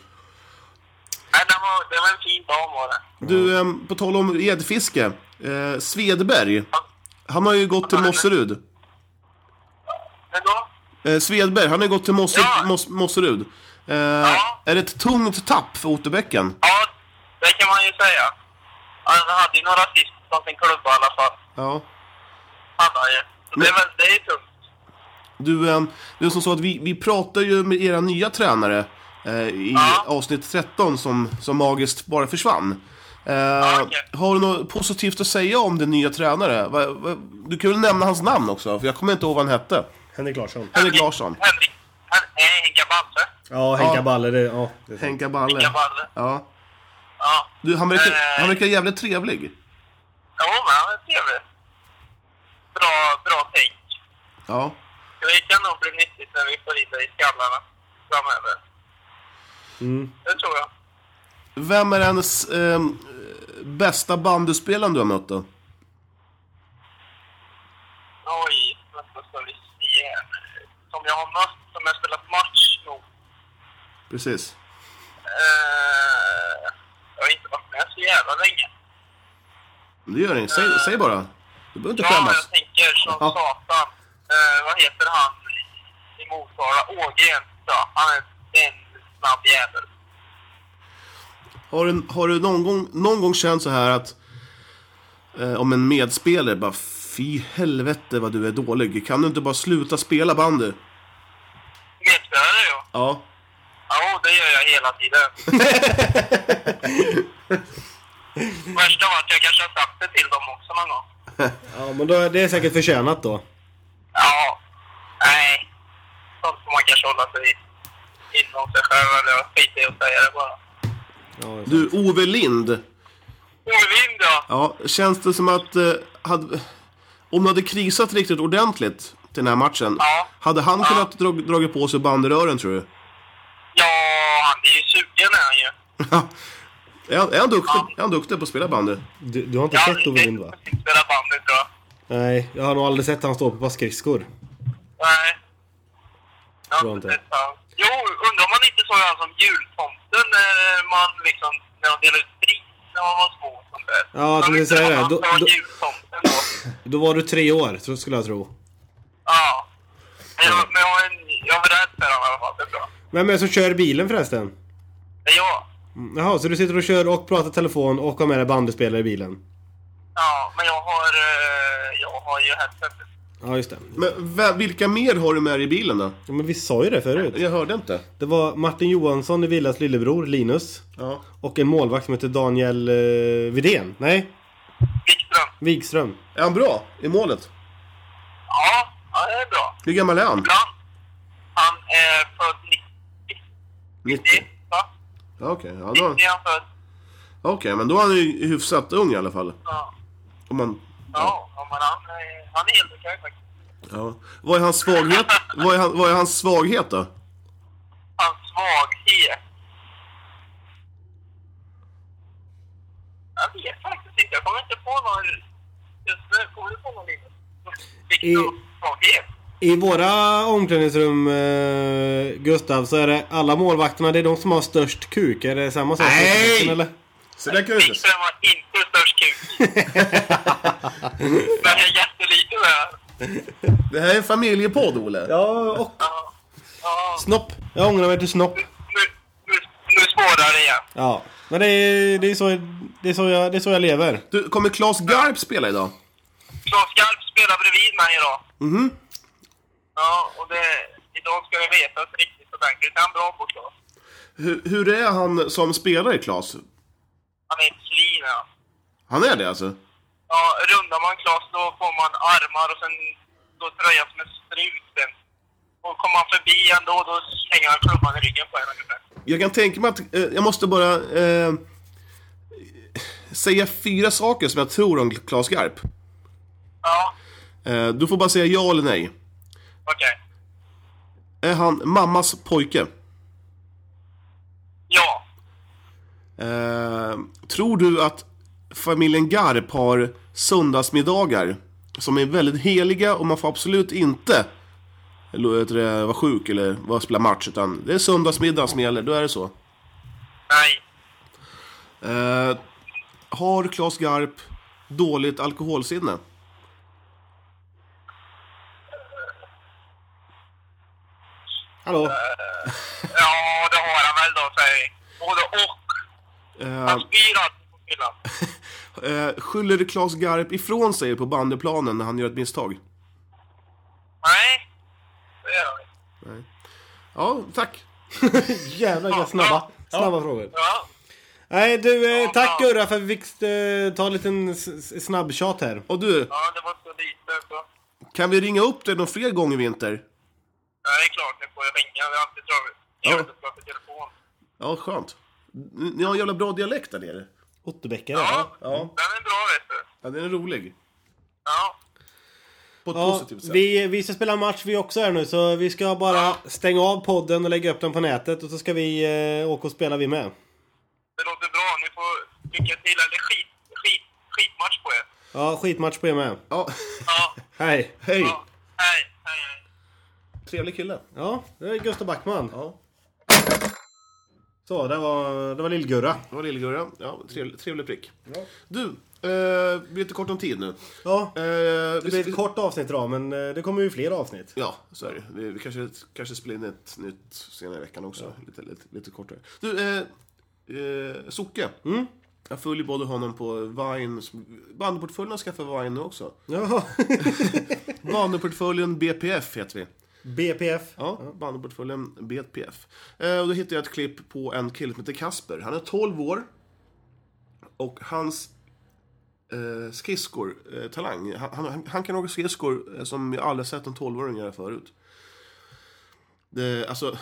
Speaker 4: det var, det var en fin dag var det.
Speaker 2: Du, ehm, på tal om gäddfiske. Eh, Svedberg.
Speaker 4: Ja.
Speaker 2: Han har ju gått till Mosserud.
Speaker 4: Men då?
Speaker 2: Eh, Svedberg, han har ju gått till Mosse,
Speaker 4: Ja.
Speaker 2: Mos, Mosserud. Eh, Är det ett tungt tapp för Otterbäcken?
Speaker 4: Ja, det kan man ju säga. Alltså, Han hade ju några assist från sin klubba i alla fall.
Speaker 2: Ja.
Speaker 4: Han har ju. Så det, är väl, det är ju tungt.
Speaker 2: Du, eh, det är som så att vi, vi pratar ju med era nya tränare eh, i
Speaker 4: Ja.
Speaker 2: avsnitt 13 som, som magiskt bara försvann. Eh,
Speaker 4: okej.
Speaker 2: Har du något positivt att säga om din nya tränare? Va, va, du kan väl nämna hans namn också, för jag kommer inte ihåg vad han hette.
Speaker 3: Henrik Larsson.
Speaker 2: Henrik Larsson.
Speaker 4: Henrik, han är Henka Balle.
Speaker 3: Ja, Henka
Speaker 2: Ja.
Speaker 3: Balle. Det, ja, det är sant.
Speaker 2: Henka Balle.
Speaker 4: Henka Balle.
Speaker 2: Ja.
Speaker 4: Ja.
Speaker 2: Du, han verkar,
Speaker 4: Eh,
Speaker 2: han verkar jävligt trevlig.
Speaker 4: Jo, men han är trevlig. Bra, bra tänk.
Speaker 2: Ja.
Speaker 4: Det kan nog bli nyttigt när vi får i det i skallarna framöver.
Speaker 2: Mm.
Speaker 4: Det tror jag.
Speaker 2: Vem är hennes ehm, bästa bandyspelaren du har mött då?
Speaker 4: Oj, vänta ska vi se här nu. Som jag har mött, som jag spelat match mot.
Speaker 2: Precis.
Speaker 4: Eh, jag har inte varit med så jävla länge.
Speaker 2: Det gör inget, säg, säg bara. Du behöver inte
Speaker 4: Eh, Ja,
Speaker 2: skämmas.
Speaker 4: jag tänker som
Speaker 2: Ja.
Speaker 4: satan. Eh, vad heter han i Motala? Ågren, ja. Han är en snabb jävel.
Speaker 2: Har du, har du någon, gång, någon gång känt så här att eh, om en medspelare bara fy helvete vad du är dålig. Kan du inte bara sluta spela bandy?
Speaker 4: Medspelare, ja.
Speaker 2: Ja.
Speaker 4: Ja, det gör jag hela tiden. Värsta var att jag kanske har sagt det till dem också någon gång.
Speaker 3: Ja, men då, det är säkert förtjänat då.
Speaker 4: Ja, nej. Sånt får man kanske hålla sig inom sig själv eller skita i att säga det bara.
Speaker 3: Ja, det är sant.
Speaker 2: Du, Ove Lind.
Speaker 4: Ovind ja.
Speaker 2: Ja, känns det som att eh, hade, om du hade krisat riktigt ordentligt till den här matchen.
Speaker 4: Ja.
Speaker 2: Hade han
Speaker 4: Ja.
Speaker 2: kunnat dra, dragit på sig bandyrören tror du?
Speaker 4: Ja, han är ju sugen är han ju.
Speaker 2: är, han, är, han duktig,
Speaker 4: Ja.
Speaker 2: är han duktig på att spela bandy?
Speaker 3: du, du har inte
Speaker 4: Jag har
Speaker 3: sett Ove Lind va?
Speaker 4: aldrig sett spela bandet tror jag.
Speaker 3: Nej, jag har nog aldrig sett han stå på ett par skridskor.
Speaker 4: Nej. Jag
Speaker 3: Tror
Speaker 4: har
Speaker 3: inte.
Speaker 4: inte sett han. Jo, undrar om man inte såg han som jultomten när man liksom, när de delade ut pris när man var små och sånt där.
Speaker 3: Ja, jag tänkte säga det.
Speaker 4: Han
Speaker 3: Då-
Speaker 4: var
Speaker 3: då-
Speaker 4: jultomten då.
Speaker 3: Då var du tre år, så skulle jag tro.
Speaker 4: Ja. Men jag, men jag, har en, jag är rädd för honom i alla fall, det är bra.
Speaker 3: Vem är det som kör bilen förresten?
Speaker 4: Det är jag.
Speaker 3: Mm, Jaha, så du sitter och kör och pratar telefon och har med dig bandespelare i bilen?
Speaker 4: Ja, men jag har, eh, jag har ju headsetet.
Speaker 3: Ja, just det.
Speaker 2: Men vem- vilka mer har du med dig i bilen då?
Speaker 3: Ja, men vi sa ju det förut.
Speaker 2: Jag hörde inte.
Speaker 3: Det var Martin Johansson i Villas lillebror, Linus.
Speaker 2: Ja.
Speaker 3: Och en målvakt som heter Daniel eh, Widén. Nej,
Speaker 4: Wikström.
Speaker 3: Wigström.
Speaker 2: Är han bra i målet?
Speaker 4: Ja, ja, det är bra.
Speaker 2: Hur gammal är han?
Speaker 4: Ibland. Han är född 90.
Speaker 2: 90.
Speaker 4: Va?
Speaker 2: Ja, Okej, ja,
Speaker 4: 90
Speaker 2: då-
Speaker 4: är han född.
Speaker 2: okej, men då är han ju hyfsat ung i alla fall.
Speaker 4: Ja.
Speaker 2: Om man,
Speaker 4: Ja, ja, men han, är- han är helt okej faktiskt.
Speaker 2: ja. Vad är hans svaghet? vad, är han, vad är hans svaghet då?
Speaker 4: Hans svaghet. Jag vet faktiskt inte. Jag kommer inte på någon just nu. Kommer du på någon Linus? Wikströms svaghet?
Speaker 3: I våra omklädningsrum, eh, Gustav, så är det alla målvakterna, det är de som har störst kuk. Är det samma sak?
Speaker 2: Nej!
Speaker 3: Eller?
Speaker 2: Så där kan vi inte...
Speaker 4: Wikström var inte störst kuk. Men det är jättelite där.
Speaker 2: Det här är en familjepodd, Olle.
Speaker 3: Ja, och
Speaker 4: Ja. Ja,
Speaker 3: snopp. Jag ångrar mig till snopp.
Speaker 4: nu, nu, nu spårar det igen.
Speaker 3: Ja, men det är, det är, så, det är, så, jag, det är så jag lever.
Speaker 2: Du, kommer Claes Garp spela idag?
Speaker 4: Claes Skarp spelar bredvid mig idag. Mhm. Ja, och det, idag ska det vetas riktigt ordentligt. Han är bra på Claes.
Speaker 2: Hur, hur är han som spelare, Claes?
Speaker 4: Han är ett svin, ja.
Speaker 2: Han är det alltså?
Speaker 4: Ja, rundar man Claes då får man armar och sen då tröja som en strut sen. Och kommer man förbi ändå då slänger han klubban i ryggen på en ungefär.
Speaker 2: Jag kan tänka mig att, eh, jag måste bara eh, säga fyra saker som jag tror om Claes Garp.
Speaker 4: Ja,
Speaker 2: Eh, Du får bara säga ja eller nej.
Speaker 4: okej.
Speaker 2: Är han mammas pojke?
Speaker 4: Ja.
Speaker 2: Eh, tror du att familjen Garp har söndagsmiddagar som är väldigt heliga och man får absolut inte eller, vet du det, vara sjuk eller vara spela match utan det är söndagsmiddag som gäller, då är det så.
Speaker 4: Nej.
Speaker 2: Eh, har Claes Garp dåligt alkoholsinne?
Speaker 3: Hallå?
Speaker 4: Ja, det har han väl då, säger Både och.
Speaker 2: Eh,
Speaker 4: Han styrar på fyllan.
Speaker 2: eh, skyller Claes Garp ifrån sig på bandyplanen när han gör ett misstag?
Speaker 4: Nej, det gör han inte.
Speaker 2: Ja, tack.
Speaker 3: Jävlar vilka snabba, snabba frågor.
Speaker 4: Ja.
Speaker 3: Nej du, eh,
Speaker 4: Ja,
Speaker 3: tack
Speaker 4: ja.
Speaker 3: Gurra för att vi fick eh, ta en liten s- s- snabb tjat här.
Speaker 2: Och du,
Speaker 4: ja, det var så lite så.
Speaker 2: kan vi ringa upp dig någon fler gång i vinter?
Speaker 4: Ja, det är klart, nu får jag ringa. Det är alltid trevligt. Jag vet inte prata i telefon.
Speaker 2: Ja, skönt. Ni ni har en jävla bra dialekt där nere.
Speaker 3: Otterbäckare.
Speaker 4: Ja,
Speaker 2: Ja,
Speaker 4: den är bra vet du.
Speaker 2: ja den är rolig.
Speaker 4: Ja,
Speaker 2: På ett
Speaker 3: Ja,
Speaker 2: positivt sätt.
Speaker 3: vi, vi ska spela match vi också här nu så vi ska bara stänga av podden och lägga upp den på nätet och så ska vi eh, åka och spela vi med.
Speaker 4: det låter bra. Ni får lycka till. Eller skit, skit, skitmatch på er.
Speaker 3: Ja, skitmatch på er med.
Speaker 2: Ja,
Speaker 4: Ja,
Speaker 3: Hej!
Speaker 2: hej.
Speaker 4: ja. Hej, hej, hej.
Speaker 2: Trevlig kille.
Speaker 3: Ja, det är Gustav Backman.
Speaker 2: Ja,
Speaker 3: Så, det var, det var Lill-Gurra.
Speaker 2: det var Lill-Gurra. Ja, trevlig, trevlig prick. Du, eh, vi är lite kort om tid nu.
Speaker 3: Ja,
Speaker 2: Eh,
Speaker 3: det blir ett kort avsnitt idag men eh, det kommer ju fler avsnitt.
Speaker 2: Ja, så är det. Vi, vi kanske, kanske spelar in ett nytt senare i veckan också. Lite, lite, lite kortare. Du, eh, eh, Socke.
Speaker 3: Mm?
Speaker 2: Jag följer både honom på Vine. Bandyportföljen har skaffat Vine nu också.
Speaker 3: Ja.
Speaker 2: Bandyportföljen BPF heter vi.
Speaker 3: BPF.
Speaker 2: Ja, bandyportföljen BPF. Eh, och då hittade jag ett klipp på en kille som heter Kasper. Han är 12 år. Och hans eh, skridskor, eh, talang, han, han, han kan åka skridskor eh, som jag aldrig sett en 12-åring göra förut. Det, alltså,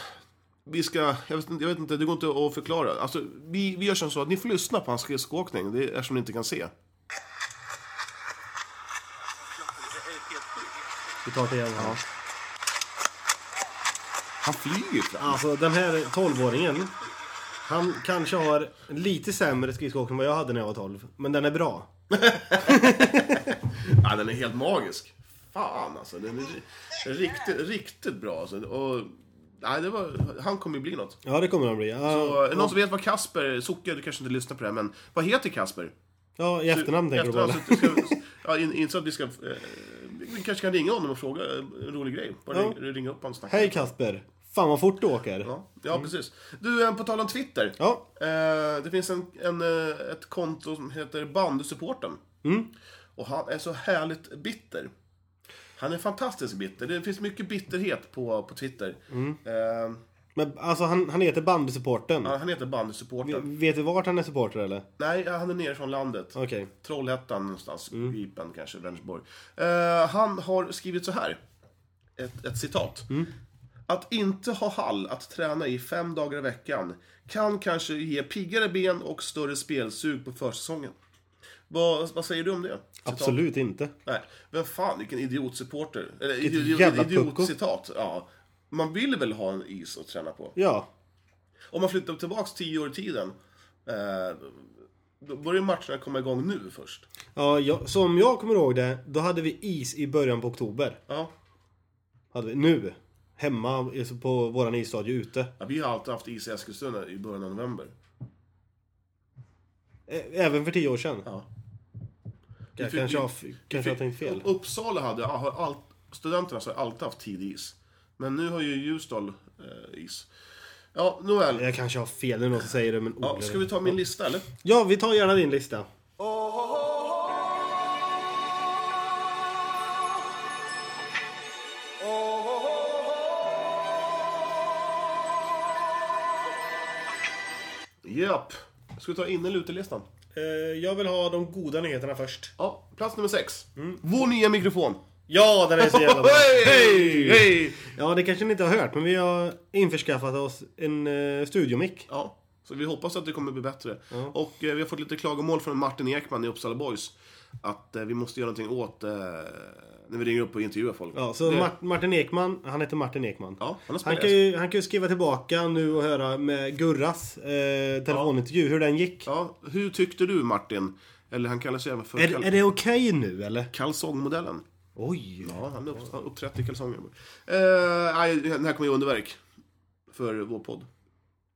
Speaker 2: vi ska, jag vet, inte- jag vet inte, det går inte att förklara. Alltså, vi, vi gör som så att ni får lyssna på hans skridskoåkning, det är, eftersom ni inte kan se.
Speaker 3: Vi tar det igen. Ja.
Speaker 2: Han flyger fram.
Speaker 3: Alltså den här 12-åringen. Han kanske har lite sämre skridskoåkning än vad jag hade när jag var 12. Men den är bra.
Speaker 2: Ja, den är helt magisk. Fan alltså, den är ri- riktigt, riktigt bra alltså. Och, nej, det var, han kommer ju bli något.
Speaker 3: Ja, det kommer den bli.
Speaker 2: Och,
Speaker 3: Ja,
Speaker 2: är det någon som vet vad Kasper, Socke, du kanske inte lyssnar på det här, men vad heter Kasper?
Speaker 3: ja i efternamn tänker du på
Speaker 2: Efternamn,
Speaker 3: eller?
Speaker 2: så att du ska- ja, in- Inte så att vi ska... eh, Vi kanske kan ringa honom och fråga eh, en rolig grej. Bara
Speaker 3: Ja.
Speaker 2: ring, ringa upp honom och snacka.
Speaker 3: Hej Kasper! Fan vad fort du åker. Ja.
Speaker 2: Ja, ja precis. Du, eh, på tal om Twitter. Eh, det finns en, en, eh, ett konto som heter Bandysupporten. Och han är så härligt bitter. Han är fantastiskt bitter. Det finns mycket bitterhet på, på Twitter. Eh,
Speaker 3: Men alltså han, han heter bandysupporten.
Speaker 2: han heter Bandysupporten.
Speaker 3: Vet du vart han är supporter eller?
Speaker 2: Nej, han är nere från landet.
Speaker 3: Okej.
Speaker 2: Trollhättan någonstans.
Speaker 3: Mm.
Speaker 2: Gripen kanske, Vänersborg. Eh, han har skrivit så här. Ett, ett citat.
Speaker 3: Mm.
Speaker 2: Att inte ha hall att träna i fem dagar i veckan kan kanske ge piggare ben och större spelsug på försäsongen. Vad, vad säger du om det? Citat.
Speaker 3: Absolut inte.
Speaker 2: Nej. Vem fan, vilken idiotsupporter. Eller
Speaker 3: Vilket
Speaker 2: idiot,
Speaker 3: jävla pucko.
Speaker 2: idiotcitat. Ja. Man vill väl ha en is att träna på?
Speaker 3: Ja.
Speaker 2: Om man flyttar tillbaks tio år i tiden. Eh, då börjar matcherna komma igång nu först.
Speaker 3: ja jag, som jag kommer ihåg det, då hade vi is i början på oktober.
Speaker 2: Ja.
Speaker 3: Hade vi, nu. Hemma alltså på våran isstadie ute.
Speaker 2: Ja, vi har alltid haft is i Eskilstuna i början av november.
Speaker 3: Ä- Eh, Även för tio år sedan.
Speaker 2: Ja.
Speaker 3: Jag
Speaker 2: fick-
Speaker 3: kanske
Speaker 2: vi-
Speaker 3: har, f- kanske har tänkt fel.
Speaker 2: Uppsala hade, har allt, studenterna har alltid haft tidig is. Men nu har ju Ljusdal eh, is. Ja, nåväl.
Speaker 3: Jag kanske har fel, det är någon som säger det men
Speaker 2: Ja, ska vi ta min lista eller?
Speaker 3: ja, vi tar gärna din lista.
Speaker 2: Japp. Ska vi ta in eller utelistan?
Speaker 3: Eh, jag vill ha de goda nyheterna först.
Speaker 2: Ja, plats nummer sex. Vår nya mikrofon.
Speaker 3: Ja, den är så Mm. jävla bra!
Speaker 2: Hej! Hej!
Speaker 3: Ja, det kanske ni inte har hört, men vi har införskaffat oss en eh, studiomick.
Speaker 2: Ja, Så vi hoppas att det kommer bli bättre. Och eh, vi har fått lite klagomål från Martin Ekman i Uppsala Boys. Att eh, vi måste göra någonting åt eh, när vi ringer upp och intervjuar folk.
Speaker 3: Ja, så
Speaker 2: Det-
Speaker 3: Mart- Martin Ekman, han heter Martin Ekman.
Speaker 2: Ja, han har
Speaker 3: han,
Speaker 2: spelat.
Speaker 3: kan ju, han kan ju skriva tillbaka nu och höra med Gurras eh, telefonintervju, hur den gick.
Speaker 2: Ja, hur tyckte du Martin? Eller han kallar sig även för
Speaker 3: Är,
Speaker 2: kal-
Speaker 3: är det okej nu eller?
Speaker 2: kalsongmodellen.
Speaker 3: Oj!
Speaker 2: Ja, han upp- han uppträtt i kalsonger. Eh, nej, den här kommer ju underverk. För vår podd.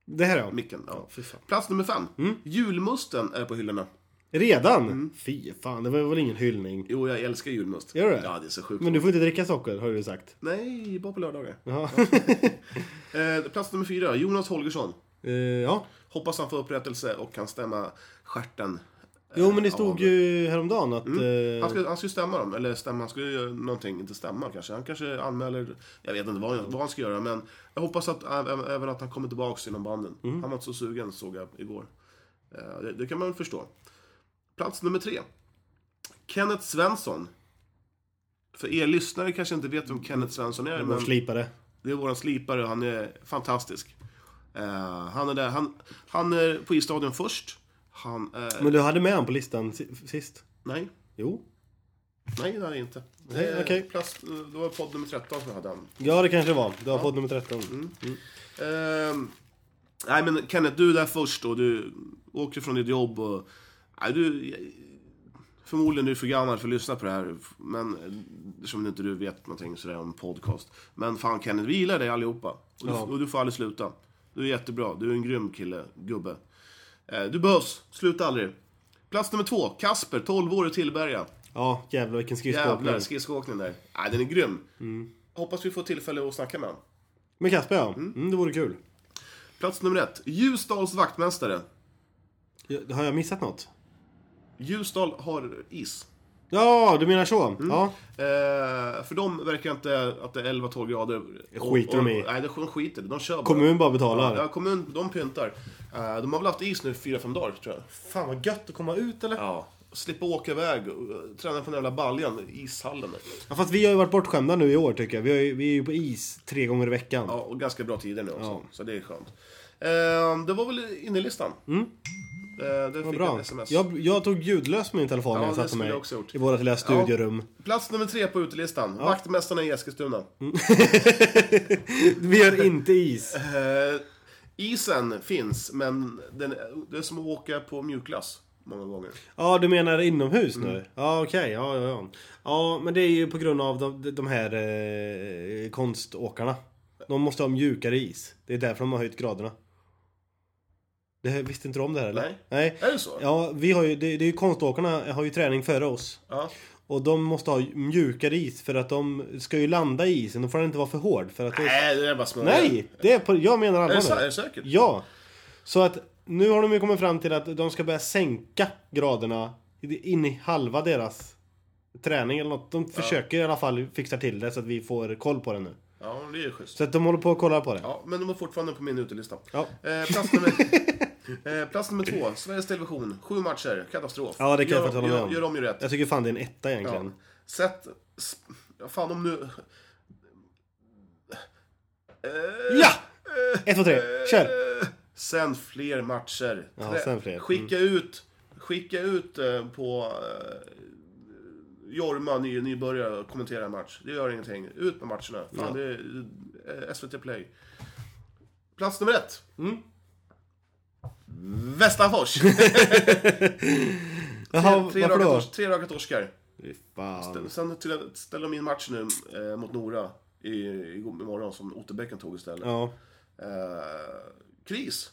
Speaker 3: Det här ja.
Speaker 2: Micken. Ja.
Speaker 3: fy fan. Mm.
Speaker 2: Plats nummer fem. Julmusten är på hyllorna.
Speaker 3: Redan? Fy fan, det var väl ingen hyllning.
Speaker 2: Jo, jag älskar julmust.
Speaker 3: Gör du det?
Speaker 2: Ja, det är så sjukt.
Speaker 3: Men du får inte dricka socker har du sagt.
Speaker 2: Nej, bara på lördagar.
Speaker 3: Ja.
Speaker 2: Eh, plats nummer fyra. Jonas Holgersson.
Speaker 3: Eh, ja.
Speaker 2: Hoppas han får upprättelse och kan stämma stjärten.
Speaker 3: Jo men det
Speaker 2: Eh, Ja,
Speaker 3: stod
Speaker 2: det-
Speaker 3: ju häromdagen att... eh,
Speaker 2: Han skulle, han skulle stämma dem, eller stämma, han skulle göra någonting, inte stämma kanske. Han kanske anmäler, jag vet inte vad, han- vad han ska göra, men jag hoppas att, ä- även att han kommer tillbaks inom banden. Han var inte så sugen, såg jag igår. Eh, Det, det kan man förstå. Plats nummer tre. Kenneth Svensson. För er lyssnare kanske inte vet vem Kenneth Svensson är,
Speaker 3: Vår
Speaker 2: men
Speaker 3: slipare.
Speaker 2: det är våran slipare och han är fantastisk. Eh, han är där, han, han är på isstadion först. Han, eh,
Speaker 3: Men du hade med han på listan si- sist?
Speaker 2: nej.
Speaker 3: Jo.
Speaker 2: Nej, det är det inte.
Speaker 3: Nej,
Speaker 2: Eh,
Speaker 3: okej.
Speaker 2: Plats, det var podd nummer 13 som jag hade han.
Speaker 3: Ja det kanske det var. Du har fått nummer 13.
Speaker 2: Mm. Ehm, nej, men Kenneth, du är där först och du åker från ditt jobb och... Nej, du... Förmodligen är du för gammal för att lyssna på det här, men eh, som inte du vet någonting sådär om podcast. Men fan Kenneth, vi gillar dig allihopa. Och du,
Speaker 3: Ja.
Speaker 2: och du får aldrig sluta. Du är jättebra, du är en grym kille, gubbe. Eh, du behövs, sluta aldrig. Plats nummer två, Kasper, 12 år i Tillberga.
Speaker 3: Ja jävlar vilken
Speaker 2: Jävlar,
Speaker 3: skridskoåkning.
Speaker 2: skridskoåkningen där. Nej, den är grym. Hoppas vi får tillfälle att snacka med honom.
Speaker 3: Men Kasper ja. Mm, det vore kul.
Speaker 2: Plats nummer ett. Ljusdals vaktmästare.
Speaker 3: Ja, Har jag missat något?
Speaker 2: Ljusdal har is.
Speaker 3: Ja, du menar så?
Speaker 2: Mm.
Speaker 3: Ja.
Speaker 2: Eh, för de verkar inte att det är 11-12 grader.
Speaker 3: skiter de i.
Speaker 2: Nej, de skiter i det. De kör bara.
Speaker 3: Kommun bara betalar.
Speaker 2: Ja, kommun, de pyntar. Eh, de har väl haft is nu 4-5 dagar, tror jag.
Speaker 3: Fan vad gött att komma ut eller? Ja.
Speaker 2: Ja. Slippa åka iväg och eh, träna på den jävla baljan, ishallen. där.
Speaker 3: fast vi har ju varit bortskämda nu i år tycker jag. Vi, har ju, vi är ju på is tre gånger i veckan.
Speaker 2: Ja, och ganska bra tider nu också.
Speaker 3: Ja.
Speaker 2: Så det är skönt. Eh, det var väl innerlistan. Mm. Eh, det
Speaker 3: Vad
Speaker 2: fick jag
Speaker 3: bra.
Speaker 2: ett sms.
Speaker 3: Jag, jag tog ljudlös med min telefon
Speaker 2: Ja,
Speaker 3: när jag
Speaker 2: det
Speaker 3: satt
Speaker 2: skulle
Speaker 3: med
Speaker 2: jag också gjort.
Speaker 3: i våra lilla studiorum.
Speaker 2: Plats nummer tre på utelistan. Vaktmästarna i Eskilstuna.
Speaker 3: Vi gör inte is.
Speaker 2: Eh, isen finns, men den, det är som att åka på mjukglass många gånger.
Speaker 3: Ja, du menar inomhus
Speaker 2: Mm.
Speaker 3: nu? Ja, okej. Ja, ja, ja. Ja, men det är ju på grund av de, de här eh, konståkarna. De måste ha mjukare is. Det är därför de har höjt graderna. Det här, visste inte de det här eller?
Speaker 2: Nej.
Speaker 3: Nej.
Speaker 2: Är det så?
Speaker 3: Ja, vi har ju, det, det är ju konståkarna har ju träning före oss.
Speaker 2: Ja.
Speaker 3: Och de måste ha mjukare is för att de ska ju landa i isen. Då får den inte vara för hård. För att det är...
Speaker 2: Nej, det är bara smörja.
Speaker 3: Nej! Det är på, jag menar
Speaker 2: Är det,
Speaker 3: allvar
Speaker 2: så, är
Speaker 3: nu.
Speaker 2: det säkert?
Speaker 3: Ja! Så att nu har de ju kommit fram till att de ska börja sänka graderna in i halva deras träning eller något. De försöker i alla fall fixa till det så att vi får koll på det nu.
Speaker 2: Ja, det är ju schysst.
Speaker 3: Så att de håller på att kolla på det.
Speaker 2: Ja, men de är fortfarande på min utelista.
Speaker 3: Ja.
Speaker 2: Eh, plats, nummer, eh, plats nummer två, Sveriges Television. Sju matcher, katastrof.
Speaker 3: Ja, det kan
Speaker 2: gör,
Speaker 3: jag faktiskt hålla med
Speaker 2: gör,
Speaker 3: om.
Speaker 2: gör om ju rätt.
Speaker 3: Jag tycker fan det är en etta
Speaker 2: Ja.
Speaker 3: egentligen.
Speaker 2: Sätt... sp- ja, Fan om nu...
Speaker 3: Ja! Ett, två, tre, kör!
Speaker 2: Eh, Sänd fler matcher.
Speaker 3: Ja,
Speaker 2: Trä-
Speaker 3: sänd fler. Mm.
Speaker 2: Skicka ut, skicka ut eh, på eh, Jorma, ny, nybörjare, och kommentera en match. Det gör ingenting. Ut med matcherna. Fan, det är eh, SVT Play. Plats nummer ett.
Speaker 3: Mm.
Speaker 2: Västafors!
Speaker 3: Jaha,
Speaker 2: tre,
Speaker 3: varför
Speaker 2: raka
Speaker 3: då?
Speaker 2: tors, tre raka torskar.
Speaker 3: Fy Fan.
Speaker 2: Sen till- ställde de in match nu eh, mot Nora i, i, imorgon som Otterbäcken tog istället.
Speaker 3: Ja.
Speaker 2: Eh, kris.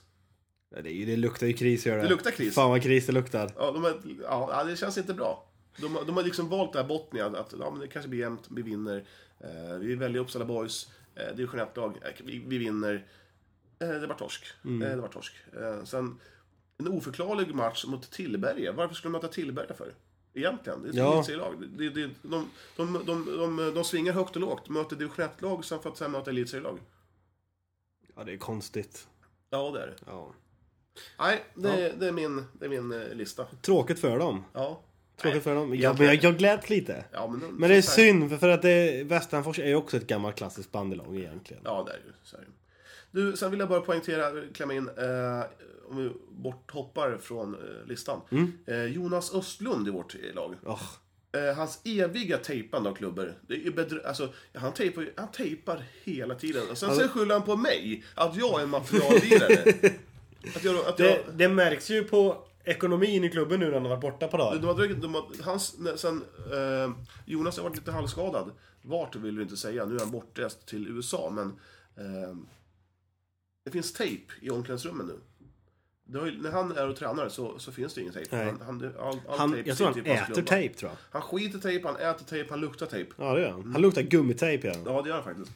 Speaker 3: Ja, Det, är ju- det luktar ju kris gör det.
Speaker 2: Det luktar kris.
Speaker 3: Fan vad kris det luktar.
Speaker 2: Ja, de har, ja, ja, det känns inte bra. De, har- de har liksom valt det här Botnia, att ja, men det kanske blir jämnt, vi vinner. Eh, vi väljer Uppsala Boys, eh, division 1-lag, eh, vi, vi vinner. Eh, det var torsk.
Speaker 3: Mm.
Speaker 2: Eh, det var torsk. Eh, sen, en oförklarlig match mot Tillberga. Varför skulle de möta Tillberga för? Egentligen, det är
Speaker 3: Ja.
Speaker 2: ja. ett elitserielag. Det, det, de, de, de, de, de, de svingar högt och lågt, möter division 1-lag sen för att sen möta elitserielag.
Speaker 3: Ja, det är konstigt.
Speaker 2: Ja, det är det.
Speaker 3: Ja.
Speaker 2: Nej, det, det, är, min, det är min eh, lista.
Speaker 3: Tråkigt för dem.
Speaker 2: Ja.
Speaker 3: Tråkigt för dem. Ja, men
Speaker 2: egentligen-
Speaker 3: jag, jag gläds lite.
Speaker 2: Ja, men,
Speaker 3: Men det är
Speaker 2: så här-
Speaker 3: synd, för, för att det, Västanfors är ju också ett gammalt klassiskt bandylag egentligen.
Speaker 2: Ja, det är ju. Så är det. Du, sen vill jag bara poängtera, klämma in, eh, om vi borthoppar från eh, listan. Eh, Jonas Östlund i vårt eh, lag.
Speaker 3: Åh,
Speaker 2: Eh, hans eviga tejpande av klubbor. Det är bedrö- alltså, han, tejpar, ju- han tejpar hela tiden. Och sen, sen skyller han på mig, att jag är en materiallirare. att jag, att jag,
Speaker 6: Det, det märks ju på ekonomin i klubben nu när han har varit borta på dagar.
Speaker 2: de har dragit, de har, hans, när- sen, eh, Jonas har varit lite halvskadad. Vart vill vi inte säga, nu är han bortrest till USA, men eh, det finns tejp i omklädningsrummen nu. Det har ju, när han är och tränar så, så finns det ingen tejp.
Speaker 3: Nej.
Speaker 2: Han, han, all, all
Speaker 3: Han,
Speaker 2: tejp
Speaker 3: jag tror han
Speaker 2: sitter i typ hans
Speaker 3: äter
Speaker 2: klubba.
Speaker 3: tejp tror jag.
Speaker 2: Han skiter tejp, han äter tejp, han luktar tejp.
Speaker 3: Ja det gör han.
Speaker 2: Mm.
Speaker 3: Han luktar gummitejp igen.
Speaker 2: Ja, det gör han faktiskt.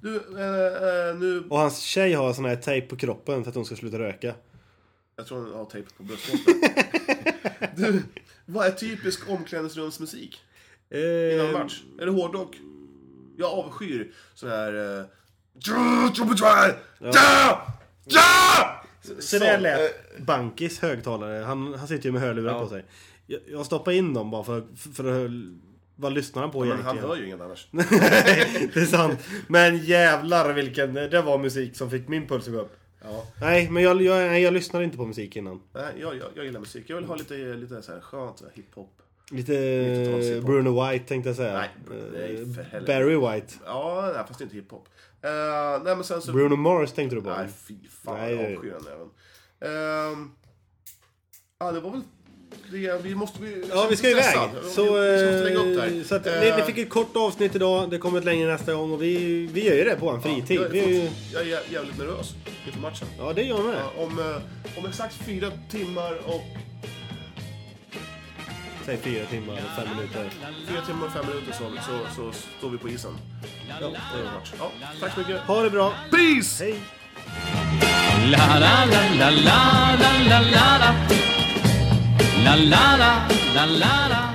Speaker 2: Du, eh, eh, nu...
Speaker 3: Och hans tjej har sån här tejp på kroppen för att hon ska sluta röka.
Speaker 2: Jag tror han har tejp på bröstvårtan. du, vad är typisk omklädningsrumsmusik? Innan
Speaker 3: Eh,
Speaker 2: match? Är det hårdrock? Jag avskyr sån här... Eh... Ja! Ja! Ja! Eh,
Speaker 3: så där lät Bankis högtalare. Han, han sitter ju med hörlurar på sig. Jag, jag stoppar in dem bara för, för, för att... Vad lyssnar han på
Speaker 2: Men han
Speaker 3: egentligen?
Speaker 2: hör ju inget annars.
Speaker 6: Det är sant. Men jävlar vilken... Det var musik som fick min puls att gå upp.
Speaker 3: Nej, men jag, jag, nej, jag lyssnar inte på musik innan.
Speaker 2: Nej, Eh, jag, jag, jag gillar musik. Jag vill ha lite, lite så här skönt så här hiphop.
Speaker 3: Lite eh,
Speaker 2: 90-talshiphop.
Speaker 3: Bruno White tänkte jag säga.
Speaker 2: Nej, nej, för
Speaker 3: Eh,
Speaker 2: helvete.
Speaker 3: Barry White.
Speaker 2: Ja, nej, fast inte hiphop. Uh, nej, men sen så...
Speaker 3: Bruno Mars tänkte du på.
Speaker 2: Nej, fy fan.
Speaker 3: Nej,
Speaker 2: jag
Speaker 3: det-
Speaker 2: avskyr den även. Ehm, ja, det var väl det. Vi måste... Vi,
Speaker 3: Ja, vi ska iväg. Så,
Speaker 2: vi, vi måste lägga upp
Speaker 3: eh,
Speaker 2: där.
Speaker 3: så att, ni, ni fick ett kort avsnitt idag. Det kommer ett längre nästa gång. Och vi, vi gör ju det på en fritid.
Speaker 2: jag, är
Speaker 3: vi är ju,
Speaker 2: fort- jag är jä- jävligt nervös inför matchen.
Speaker 3: ja, det gör man det.
Speaker 2: Ja, Om, eh, om exakt fyra timmar och...
Speaker 3: Säg fyra timmar och fem minuter.
Speaker 2: Fyra timmar och fem minuter så, så, så står vi på isen. Ja, det är match. Ja, tack så mycket.
Speaker 3: Ha det bra.
Speaker 2: Peace!
Speaker 3: Hej!
Speaker 7: La la la la la la la la la la la la la la